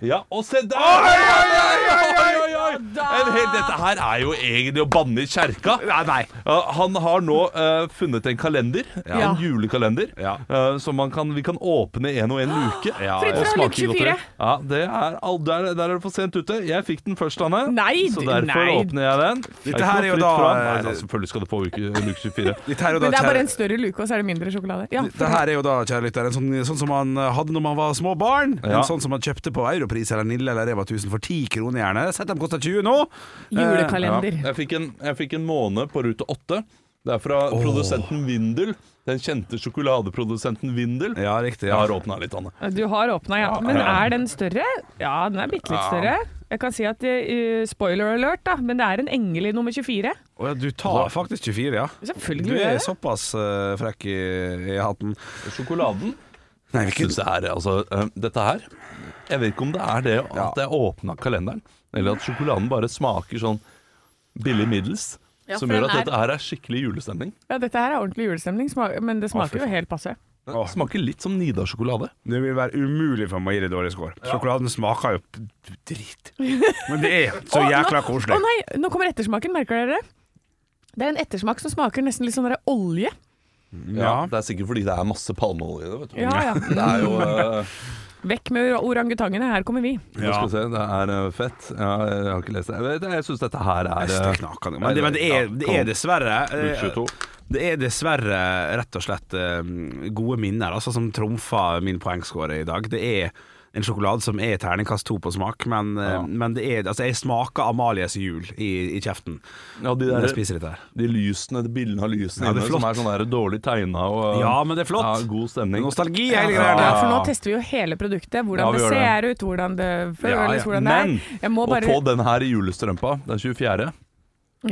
[SPEAKER 3] Ja, og se der! Oi, oi, oi, oi, oi! En hel, dette her er jo egentlig å banne i kjerka.
[SPEAKER 5] Nei, nei.
[SPEAKER 3] Ja, han har nå eh, funnet en kalender,
[SPEAKER 4] Ja.
[SPEAKER 3] en julekalender,
[SPEAKER 5] Ja.
[SPEAKER 3] eh, som man kan, vi kan åpne en og en uke.
[SPEAKER 5] Ja,
[SPEAKER 4] Fritt
[SPEAKER 3] Og
[SPEAKER 4] fra
[SPEAKER 3] smake
[SPEAKER 4] luke 24.
[SPEAKER 3] godteri. Ja, det er, all, der, der er det for sent ute. Jeg fikk den først, Anne.
[SPEAKER 4] Nei,
[SPEAKER 3] så
[SPEAKER 4] du-
[SPEAKER 3] derfor
[SPEAKER 4] nei.
[SPEAKER 3] åpner jeg den. Det ikke noe
[SPEAKER 5] her er jo
[SPEAKER 3] fritt
[SPEAKER 5] da- eh,
[SPEAKER 3] fram. Nei, da, selvfølgelig skal du få uke, luke 24.
[SPEAKER 5] Dette her er jo da,
[SPEAKER 4] Men det er bare en
[SPEAKER 5] kjære,
[SPEAKER 4] større luke, og så er det mindre sjokolade. Ja,
[SPEAKER 5] dette her er jo da, kjære lytter, en sånn, sånn som man hadde når man var små barn.
[SPEAKER 3] Ja.
[SPEAKER 5] En sånn som man kjøpte på Europris eller Nille eller Reva 1000 for 10 kroner gjerne. Sett dem koster 20 nå. Eh,
[SPEAKER 4] julekalender.
[SPEAKER 3] Jeg fikk, en, jeg fikk en måned på rute 8. Det er fra produsenten Vindel. Den kjente sjokoladeprodusenten Vindel.
[SPEAKER 5] Ja, riktig.
[SPEAKER 3] Jeg
[SPEAKER 5] Ja.
[SPEAKER 3] har åpna litt, Anne.
[SPEAKER 4] Du har åpna, ja. Men
[SPEAKER 3] ja.
[SPEAKER 4] er den større? Ja, den er bitte litt større. Jeg kan si at eh, Spoiler alert, da, men det er en engel i nummer 24.
[SPEAKER 5] Å ja, du tar
[SPEAKER 3] Altså-
[SPEAKER 5] faktisk 24, ja. Du
[SPEAKER 4] Selvfølgelig. gjør
[SPEAKER 5] er
[SPEAKER 4] jeg det.
[SPEAKER 5] såpass eh, frekk i, i hatten.
[SPEAKER 3] Sjokoladen
[SPEAKER 5] Nei, vi
[SPEAKER 3] synes jeg er altså, eh, Dette her Jeg vet ikke om det er det
[SPEAKER 5] Ja.
[SPEAKER 3] at jeg åpna kalenderen, eller at sjokoladen bare smaker sånn billig middels.
[SPEAKER 4] Ja,
[SPEAKER 3] som
[SPEAKER 4] for
[SPEAKER 3] gjør
[SPEAKER 4] den
[SPEAKER 3] at
[SPEAKER 4] er-
[SPEAKER 3] dette her er skikkelig julestemning.
[SPEAKER 4] Ja, dette her er ordentlig julestemning, sma- men det smaker jo helt passe.
[SPEAKER 3] Det smaker litt som Nidar-sjokolade.
[SPEAKER 5] Det vil være umulig for meg å gi det dårlig score. Sjokoladen smaker jo p- dritt. Men det er så
[SPEAKER 4] Å, nå-
[SPEAKER 5] jækla
[SPEAKER 4] Å
[SPEAKER 5] koselig.
[SPEAKER 4] nei, nå kommer ettersmaken, merker dere det? Det er en ettersmak som smaker nesten litt sånn der olje.
[SPEAKER 5] Ja.
[SPEAKER 3] Det er sikkert fordi det er masse palmeolje i det. Vet du.
[SPEAKER 4] Ja, ja.
[SPEAKER 3] Det er jo eh,
[SPEAKER 4] Vekk med orangutangene, her kommer vi.
[SPEAKER 3] Nå skal vi se, det er eh, fett. Ja, jeg har ikke lest det. Jeg, vet- jeg syns dette her er
[SPEAKER 5] Det
[SPEAKER 3] eh,
[SPEAKER 5] er knakende. Men, det, men det, er, det er dessverre eh,
[SPEAKER 3] Luke 22.
[SPEAKER 5] Det er dessverre rett og slett eh, gode minner altså, som trumfer min poengscore i dag. Det er en sjokolade som er terningkast to på smak, men, eh, men det er, altså, jeg smaker Amalies jul i, i kjeften
[SPEAKER 3] Ja, de,
[SPEAKER 5] når jeg
[SPEAKER 3] der,
[SPEAKER 5] spiser dette her.
[SPEAKER 3] de lysene, de bildene av lysene
[SPEAKER 5] Ja, det
[SPEAKER 3] inne
[SPEAKER 5] er
[SPEAKER 3] som
[SPEAKER 5] flott.
[SPEAKER 3] er sånn der dårlig tegna og eh,
[SPEAKER 5] Ja, men det er flott.
[SPEAKER 3] ja, god stemning.
[SPEAKER 5] Nostalgi,
[SPEAKER 3] Ja.
[SPEAKER 5] hele greia.
[SPEAKER 4] Ja,
[SPEAKER 5] der.
[SPEAKER 4] for nå tester vi jo hele produktet. Hvordan
[SPEAKER 3] Ja, vi
[SPEAKER 4] det
[SPEAKER 3] gjør
[SPEAKER 4] ser ut, hvordan det føles,
[SPEAKER 5] Ja, ja.
[SPEAKER 4] hvordan det er.
[SPEAKER 3] Men
[SPEAKER 4] Jeg må
[SPEAKER 3] å
[SPEAKER 4] bare
[SPEAKER 3] få den her i julestrømpa den 24.,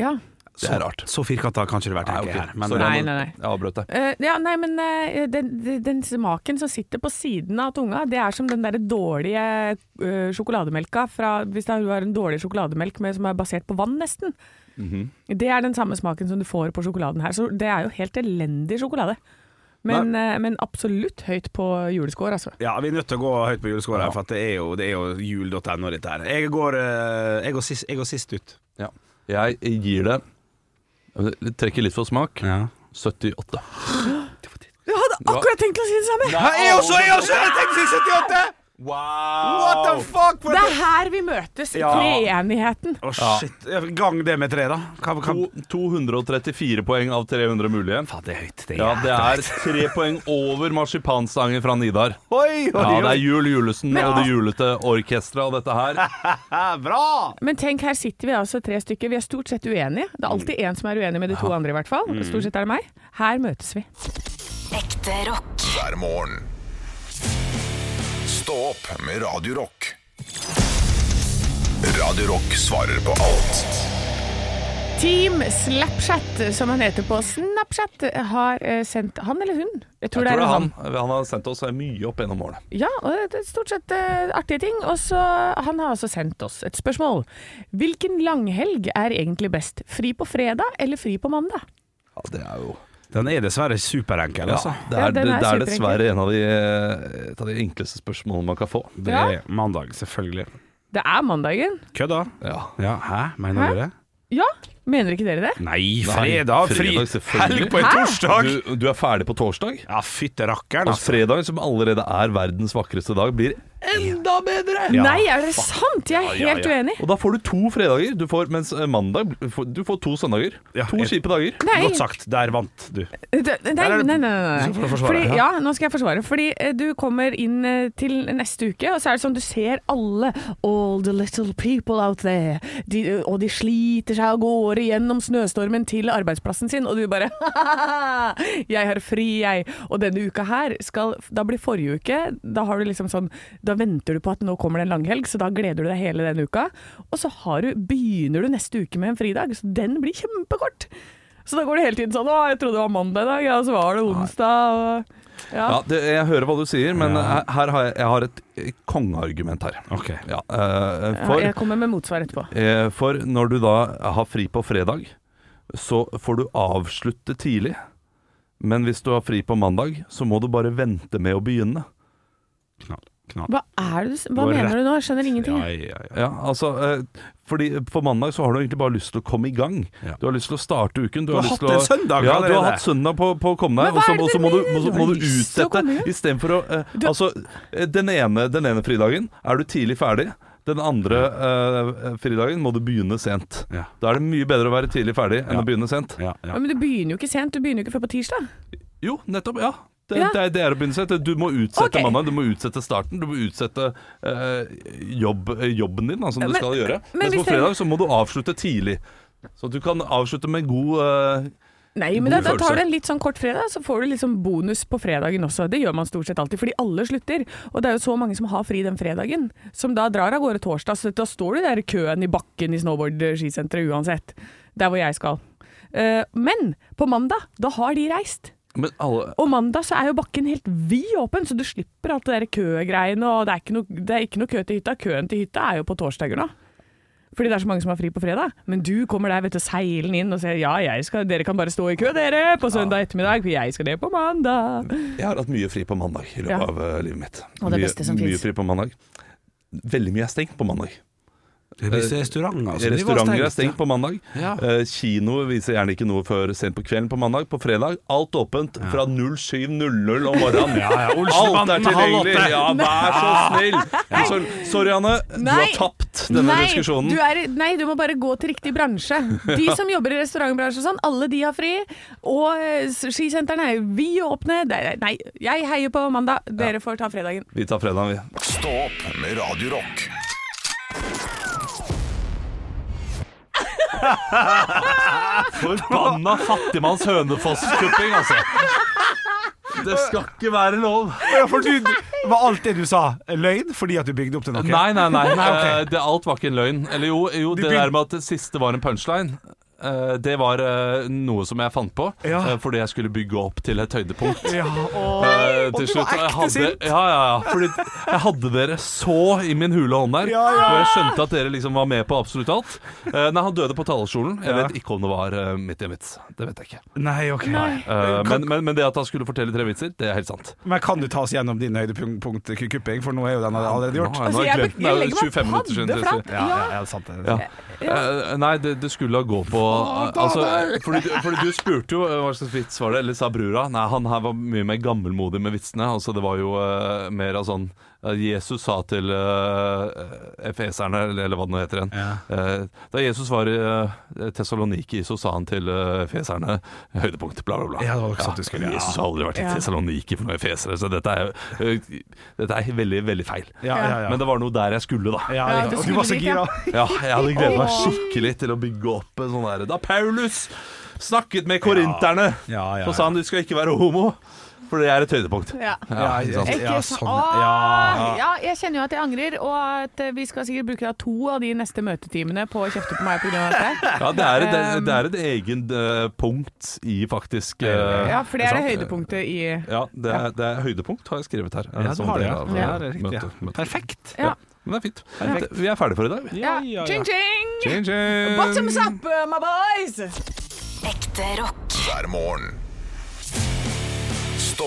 [SPEAKER 4] ja.
[SPEAKER 3] det er rart.
[SPEAKER 5] Så firkanta kan ikke det være,
[SPEAKER 3] Nei,
[SPEAKER 5] tenker
[SPEAKER 3] ok.
[SPEAKER 5] jeg her. Men,
[SPEAKER 3] Sorry,
[SPEAKER 4] Nei,
[SPEAKER 3] Anne.
[SPEAKER 4] nei, nei.
[SPEAKER 3] Jeg avbrøt deg.
[SPEAKER 4] Eh, ja, nei, men eh, den, den, den smaken som sitter på siden av tunga, det er som den derre dårlige eh, sjokolademelka fra Hvis det er- du har en dårlig sjokolademelk med, som er basert på vann, nesten. Det er den samme smaken som du får på sjokoladen her. Så det er jo helt elendig sjokolade. Men, eh, men absolutt høyt på juleskår, altså.
[SPEAKER 5] Ja, vi er nødt til å gå høyt på juleskåra, her, for at det er jo, det er jo jul.no, dette her. Jeg går, eh, jeg går, sist, jeg går sist ut.
[SPEAKER 3] Jeg gir det jeg Trekker litt for smak.
[SPEAKER 5] Ja.
[SPEAKER 3] 78.
[SPEAKER 4] Jeg hadde akkurat tenkt å si det samme!
[SPEAKER 5] Jeg også, jeg også! Jeg tenkte 78!
[SPEAKER 3] Wow!
[SPEAKER 5] What the fuck?
[SPEAKER 4] Det er her vi møtes, i
[SPEAKER 5] Ja.
[SPEAKER 4] treenigheten.
[SPEAKER 5] Å, shit. Gang det med tre, da. Hva, hva?
[SPEAKER 3] To- 234 poeng av 300 mulige.
[SPEAKER 5] Faen, det er høyt. Det er
[SPEAKER 3] Ja, det er
[SPEAKER 5] jævlig høyt.
[SPEAKER 3] tre poeng over marsipansangen fra Nidar.
[SPEAKER 5] Oi, oi,
[SPEAKER 3] Ja, det
[SPEAKER 5] oi.
[SPEAKER 3] er Jul Julesen og det julete orkesteret og dette her.
[SPEAKER 5] Ja, bra!
[SPEAKER 4] Men tenk, her sitter vi altså tre stykker. Vi er stort sett uenige. Det er alltid én som er uenig med de to andre, i hvert fall. Stort sett er det meg. Her møtes vi.
[SPEAKER 7] Ekte rock.
[SPEAKER 2] hver morgen. Stå opp med Radio Rock. Radio Rock svarer på alt
[SPEAKER 4] Team Slapchat, som han heter på Snapchat, har eh, sendt Han eller hun? Jeg tror,
[SPEAKER 3] Jeg tror
[SPEAKER 4] det er han.
[SPEAKER 3] Han har sendt oss mye opp gjennom årene.
[SPEAKER 4] Ja, og det er stort sett eh, artige ting. Og så Han har altså sendt oss et spørsmål. Hvilken langhelg er egentlig best? Fri på fredag eller fri på mandag?
[SPEAKER 3] Ja, det er jo
[SPEAKER 5] Den er dessverre superenkel, altså.
[SPEAKER 3] det
[SPEAKER 4] Ja,
[SPEAKER 3] er,
[SPEAKER 4] den er
[SPEAKER 3] det, det er
[SPEAKER 4] superenkel.
[SPEAKER 3] dessverre en av de, et av de enkleste spørsmålene man kan få.
[SPEAKER 5] Det er mandag, selvfølgelig.
[SPEAKER 4] Det er mandagen.
[SPEAKER 5] Kødda?
[SPEAKER 3] Ja.
[SPEAKER 5] Ja, hæ? Mener
[SPEAKER 4] Hæ?
[SPEAKER 5] du det?
[SPEAKER 4] Ja, mener ikke dere det?
[SPEAKER 5] Nei, fredag! Fri
[SPEAKER 3] fredag, selvfølgelig.
[SPEAKER 5] helg på en
[SPEAKER 4] Hæ?
[SPEAKER 5] torsdag!
[SPEAKER 3] Du, du er ferdig på torsdag.
[SPEAKER 5] Ja, fytte rakkeren,
[SPEAKER 3] Og
[SPEAKER 5] altså.
[SPEAKER 3] fredagen, som allerede er verdens vakreste dag, blir enda bedre!
[SPEAKER 5] Ja,
[SPEAKER 4] Nei, er det sant? Jeg er
[SPEAKER 5] Ja, ja,
[SPEAKER 4] helt
[SPEAKER 5] ja.
[SPEAKER 4] uenig.
[SPEAKER 3] Og da får du to fredager, du får, mens eh, mandag Du får to søndager.
[SPEAKER 5] Ja,
[SPEAKER 3] to
[SPEAKER 5] jeg-
[SPEAKER 3] kjipe dager.
[SPEAKER 4] Nei.
[SPEAKER 5] Godt sagt. Der vant du.
[SPEAKER 4] Eh, Det- Nei, nei,
[SPEAKER 5] er det-
[SPEAKER 4] nei. nei,
[SPEAKER 5] Du skal få
[SPEAKER 4] nei.
[SPEAKER 5] forsvare,
[SPEAKER 4] Fordi,
[SPEAKER 5] ja.
[SPEAKER 4] ja, nå skal jeg forsvare. Fordi eh, du kommer inn eh, til neste uke, og så er det sånn du ser alle All the little people out there. De, og de sliter seg av gårde gjennom snøstormen til arbeidsplassen sin, og du bare Jeg har fri, jeg. Og denne uka her skal Da blir forrige uke. Da har du liksom sånn Da venter du på at nå kommer det en langhelg, så da gleder du deg hele den uka. Og så har du, begynner du neste uke med en fridag, så den blir kjempekort. Så da går det hele tiden sånn Å, jeg trodde det var mandag i dag, ja, så var det onsdag og ja.
[SPEAKER 3] Ja, det, Jeg hører hva du sier, men eh, her har jeg, jeg har et eh, kongeargument her.
[SPEAKER 5] Ok.
[SPEAKER 3] Ja, eh,
[SPEAKER 4] Ja,
[SPEAKER 3] for,
[SPEAKER 4] jeg kommer med motsvar etterpå.
[SPEAKER 3] eh, for når du da har fri på fredag, så får du avslutte tidlig. Men hvis du har fri på mandag, så må du bare vente med å begynne.
[SPEAKER 5] Knall. Knall.
[SPEAKER 4] Hva er det du s- Hva
[SPEAKER 5] Går
[SPEAKER 4] mener
[SPEAKER 5] rett-
[SPEAKER 4] du nå? Jeg skjønner ingenting.
[SPEAKER 5] Ja,
[SPEAKER 4] jeg.
[SPEAKER 5] ja, ja.
[SPEAKER 3] Ja, altså eh, Fordi på mandag så har du egentlig bare lyst til å komme i gang.
[SPEAKER 5] Ja.
[SPEAKER 3] Du har lyst til å starte uken. Du,
[SPEAKER 5] Du har
[SPEAKER 3] lyst
[SPEAKER 5] hatt
[SPEAKER 3] til å-
[SPEAKER 5] en
[SPEAKER 3] ja,
[SPEAKER 5] søndag
[SPEAKER 3] Du
[SPEAKER 5] allerede.
[SPEAKER 3] har hatt søndag på, på å komme
[SPEAKER 4] Men
[SPEAKER 3] deg,
[SPEAKER 4] hva
[SPEAKER 3] og så-
[SPEAKER 4] er det
[SPEAKER 3] og så
[SPEAKER 4] du
[SPEAKER 3] må du,
[SPEAKER 4] mener?
[SPEAKER 3] må, så-
[SPEAKER 4] Du har
[SPEAKER 3] må du
[SPEAKER 4] lyst til å
[SPEAKER 3] utsette.
[SPEAKER 4] komme i gang.
[SPEAKER 3] Istedenfor å eh,
[SPEAKER 4] Du-
[SPEAKER 3] Altså, eh, den ene, den ene fridagen er du tidlig ferdig. Den andre eh, fridagen må du begynne sent.
[SPEAKER 5] Ja.
[SPEAKER 3] Da er det mye bedre å være tidlig ferdig enn
[SPEAKER 5] Ja.
[SPEAKER 3] å begynne sent.
[SPEAKER 5] Ja, ja.
[SPEAKER 4] Men du begynner jo ikke sent, du begynner jo ikke før på tirsdag.
[SPEAKER 3] Jo, nettopp. Ja. Det,
[SPEAKER 4] Ja.
[SPEAKER 3] det, er, det er å begynne sent. Du må utsette
[SPEAKER 4] Ok.
[SPEAKER 3] mandag, du må utsette starten, du må utsette eh, jobb, eh, jobben din, da, som du
[SPEAKER 4] Men-
[SPEAKER 3] skal gjøre.
[SPEAKER 4] men
[SPEAKER 3] Mens
[SPEAKER 4] hvis
[SPEAKER 3] på
[SPEAKER 4] det-
[SPEAKER 3] fredag så må du avslutte tidlig. Så du kan avslutte med god eh,
[SPEAKER 4] Nei, men da,
[SPEAKER 3] God
[SPEAKER 4] da
[SPEAKER 3] følelse.
[SPEAKER 4] tar du en litt sånn kort fredag, så får du liksom bonus på fredagen også. Det gjør man stort sett alltid, fordi alle slutter. Og det er jo så mange som har fri den fredagen, som da drar av gårde torsdag. Så da står du der i køen i bakken i snowboard-skisenteret uansett. Der hvor jeg skal. Eh, men på mandag, da har de reist.
[SPEAKER 3] Men alle
[SPEAKER 4] Og mandag så er jo bakken helt vid åpen, så du slipper alt det der køgreiene. Og det er, ikke noe, det er ikke noe kø til hytta. Køen til hytta er jo på torsdager nå. Fordi det er så mange som har fri på fredag. Men du kommer der vet du, seilende inn og sier ja, jeg skal, dere kan bare stå i kø dere på søndag ettermiddag, for jeg skal ned på mandag.
[SPEAKER 3] Jeg har hatt mye fri på mandag i løpet
[SPEAKER 4] Ja.
[SPEAKER 3] av eh, livet mitt.
[SPEAKER 4] Og det
[SPEAKER 3] mye,
[SPEAKER 4] beste som
[SPEAKER 3] mye
[SPEAKER 4] finnes.
[SPEAKER 3] fri på mandag. Veldig mye er stengt på mandag.
[SPEAKER 5] Det er visse restauranter altså. De var
[SPEAKER 3] Restauranter er
[SPEAKER 5] stengt,
[SPEAKER 3] stengt på mandag.
[SPEAKER 5] Ja.
[SPEAKER 3] Eh, Kino viser gjerne ikke noe før sent på kvelden på mandag. På fredag alt åpent fra 07.00 om morgenen.
[SPEAKER 5] Ja, ja,
[SPEAKER 3] Alt er
[SPEAKER 5] Olsenbanden halv
[SPEAKER 3] tilgjengelig! Ah. Ja,
[SPEAKER 5] åtte.
[SPEAKER 3] vær så snill! Så- Sorry, Anne. Du
[SPEAKER 4] Nei.
[SPEAKER 3] har tapt denne
[SPEAKER 4] nei,
[SPEAKER 3] diskusjonen.
[SPEAKER 4] Du er, nei, du må bare gå til riktig bransje. De som jobber i restaurantbransjen og sånn, alle de har fri. Og eh, skisentrene er vid åpne. Det er- Nei, jeg heier på mandag. Dere får ta fredagen.
[SPEAKER 3] Vi tar fredagen, vi.
[SPEAKER 2] Stå opp med Radio Rock.
[SPEAKER 3] Forbanna fattigmanns hønefosskupping, altså. Det skal ikke være lov.
[SPEAKER 5] Ja, for du, var alt det du sa løgn fordi at du bygde opp til noe?
[SPEAKER 3] Nei, nei, nei.
[SPEAKER 5] ok.
[SPEAKER 3] Eh, det, alt var ikke en løgn. Eller jo, jo det
[SPEAKER 5] begyn-
[SPEAKER 3] der med at det siste var en punchline. eh, det var eh, noe som jeg fant på
[SPEAKER 5] Ja.
[SPEAKER 3] eh, fordi jeg skulle bygge opp til et høydepunkt.
[SPEAKER 5] Ja, og,
[SPEAKER 3] Eh,
[SPEAKER 5] og
[SPEAKER 3] til
[SPEAKER 5] du
[SPEAKER 3] slutt, og
[SPEAKER 5] var
[SPEAKER 3] jeg
[SPEAKER 5] ekte
[SPEAKER 3] hadde,
[SPEAKER 5] sint.
[SPEAKER 3] Ja, ja, ja. Fordi jeg hadde dere så i min hule hånd der.
[SPEAKER 5] Ja, ja.
[SPEAKER 3] Og jeg skjønte at dere liksom var med på absolutt alt. Eh, nei, han døde på talerstolen. Jeg
[SPEAKER 5] Ja.
[SPEAKER 3] vet ikke om det var eh, midt i en vits. Det vet jeg ikke.
[SPEAKER 5] Nei, ok.
[SPEAKER 3] Eh, men, men, men det at han skulle fortelle tre vitser, det er helt sant.
[SPEAKER 5] Men kan du ta oss gjennom din høydepunktkupping, for nå er jo den allerede
[SPEAKER 3] Nå
[SPEAKER 5] gjort?
[SPEAKER 3] har jeg- nå har
[SPEAKER 4] Altså, jeg
[SPEAKER 3] jeg glemt den. Det er jo
[SPEAKER 4] legger meg
[SPEAKER 3] 25 minutter siden.
[SPEAKER 4] paddeflat.
[SPEAKER 3] sist.
[SPEAKER 5] Ja, ja, ja, sant det.
[SPEAKER 3] Ja. Eh, nei, det, det skulle da gå på altså, fordi, du- fordi du spurte jo eh, hva slags vits var det, eller sa brura. Nei, han her var mye mer gammelmodig med vitsene. Altså, det var jo eh, mer av sånn eh, Jesus sa til eh, efeserne, eller, eller hva det nå heter igjen. Eh, da Jesus var i uh, Tessaloniki, så sa han til eh, efeserne høydepunkt, bla, bla, bla.
[SPEAKER 5] Ja, det var nok sånn du skulle, ja.
[SPEAKER 3] Jesus har aldri vært i
[SPEAKER 4] Ja.
[SPEAKER 3] Tessaloniki for noen efesere, så dette er, jo, eh, dette er veldig, veldig feil.
[SPEAKER 5] Ja, ja, ja.
[SPEAKER 3] Men det var noe der jeg skulle, da.
[SPEAKER 5] Ja,
[SPEAKER 4] Ja, du
[SPEAKER 5] riktig. og du
[SPEAKER 4] skulle
[SPEAKER 5] var så
[SPEAKER 4] dit,
[SPEAKER 5] gira.
[SPEAKER 4] ja.
[SPEAKER 3] Ja, jeg hadde gledet meg skikkelig til å bygge opp en sånn der Da Paulus snakket med korinterne,
[SPEAKER 5] Ja, ja, ja.
[SPEAKER 3] så sa han du skal ikke være homo, for det er et høydepunkt.
[SPEAKER 4] Ja.
[SPEAKER 5] Ja,
[SPEAKER 3] ikke sant?
[SPEAKER 5] ja,
[SPEAKER 4] Ikke
[SPEAKER 5] ja,
[SPEAKER 4] sant?
[SPEAKER 5] sånn.
[SPEAKER 4] Åh,
[SPEAKER 5] Ja.
[SPEAKER 4] ah, ja, jeg kjenner jo at jeg angrer, og at eh, vi skal sikkert bruke da to av de neste møtetimene på å kjefte på meg pga. dette.
[SPEAKER 3] Ja, det er, det, det er et egen eh, punkt i faktisk eh,
[SPEAKER 4] Ja, for det er det
[SPEAKER 3] sant?
[SPEAKER 4] høydepunktet i
[SPEAKER 3] Ja, det er, det er høydepunkt, har jeg skrevet her.
[SPEAKER 5] Ja, du
[SPEAKER 3] Som
[SPEAKER 5] har det,
[SPEAKER 3] del
[SPEAKER 5] ja.
[SPEAKER 3] av,
[SPEAKER 5] Ja,
[SPEAKER 3] eh,
[SPEAKER 5] det er riktig, ja.
[SPEAKER 3] møtet- møtet.
[SPEAKER 5] Perfekt.
[SPEAKER 4] Ja.
[SPEAKER 3] Men det er fint.
[SPEAKER 5] Perfekt.
[SPEAKER 3] Vi er ferdige for i dag. vi.
[SPEAKER 5] Ja, ja, ja.
[SPEAKER 4] Ching-ching!
[SPEAKER 3] Ching, ching.
[SPEAKER 4] Bottoms up, eh, my boys!
[SPEAKER 7] Ekte rock.
[SPEAKER 2] hver morgen. Stå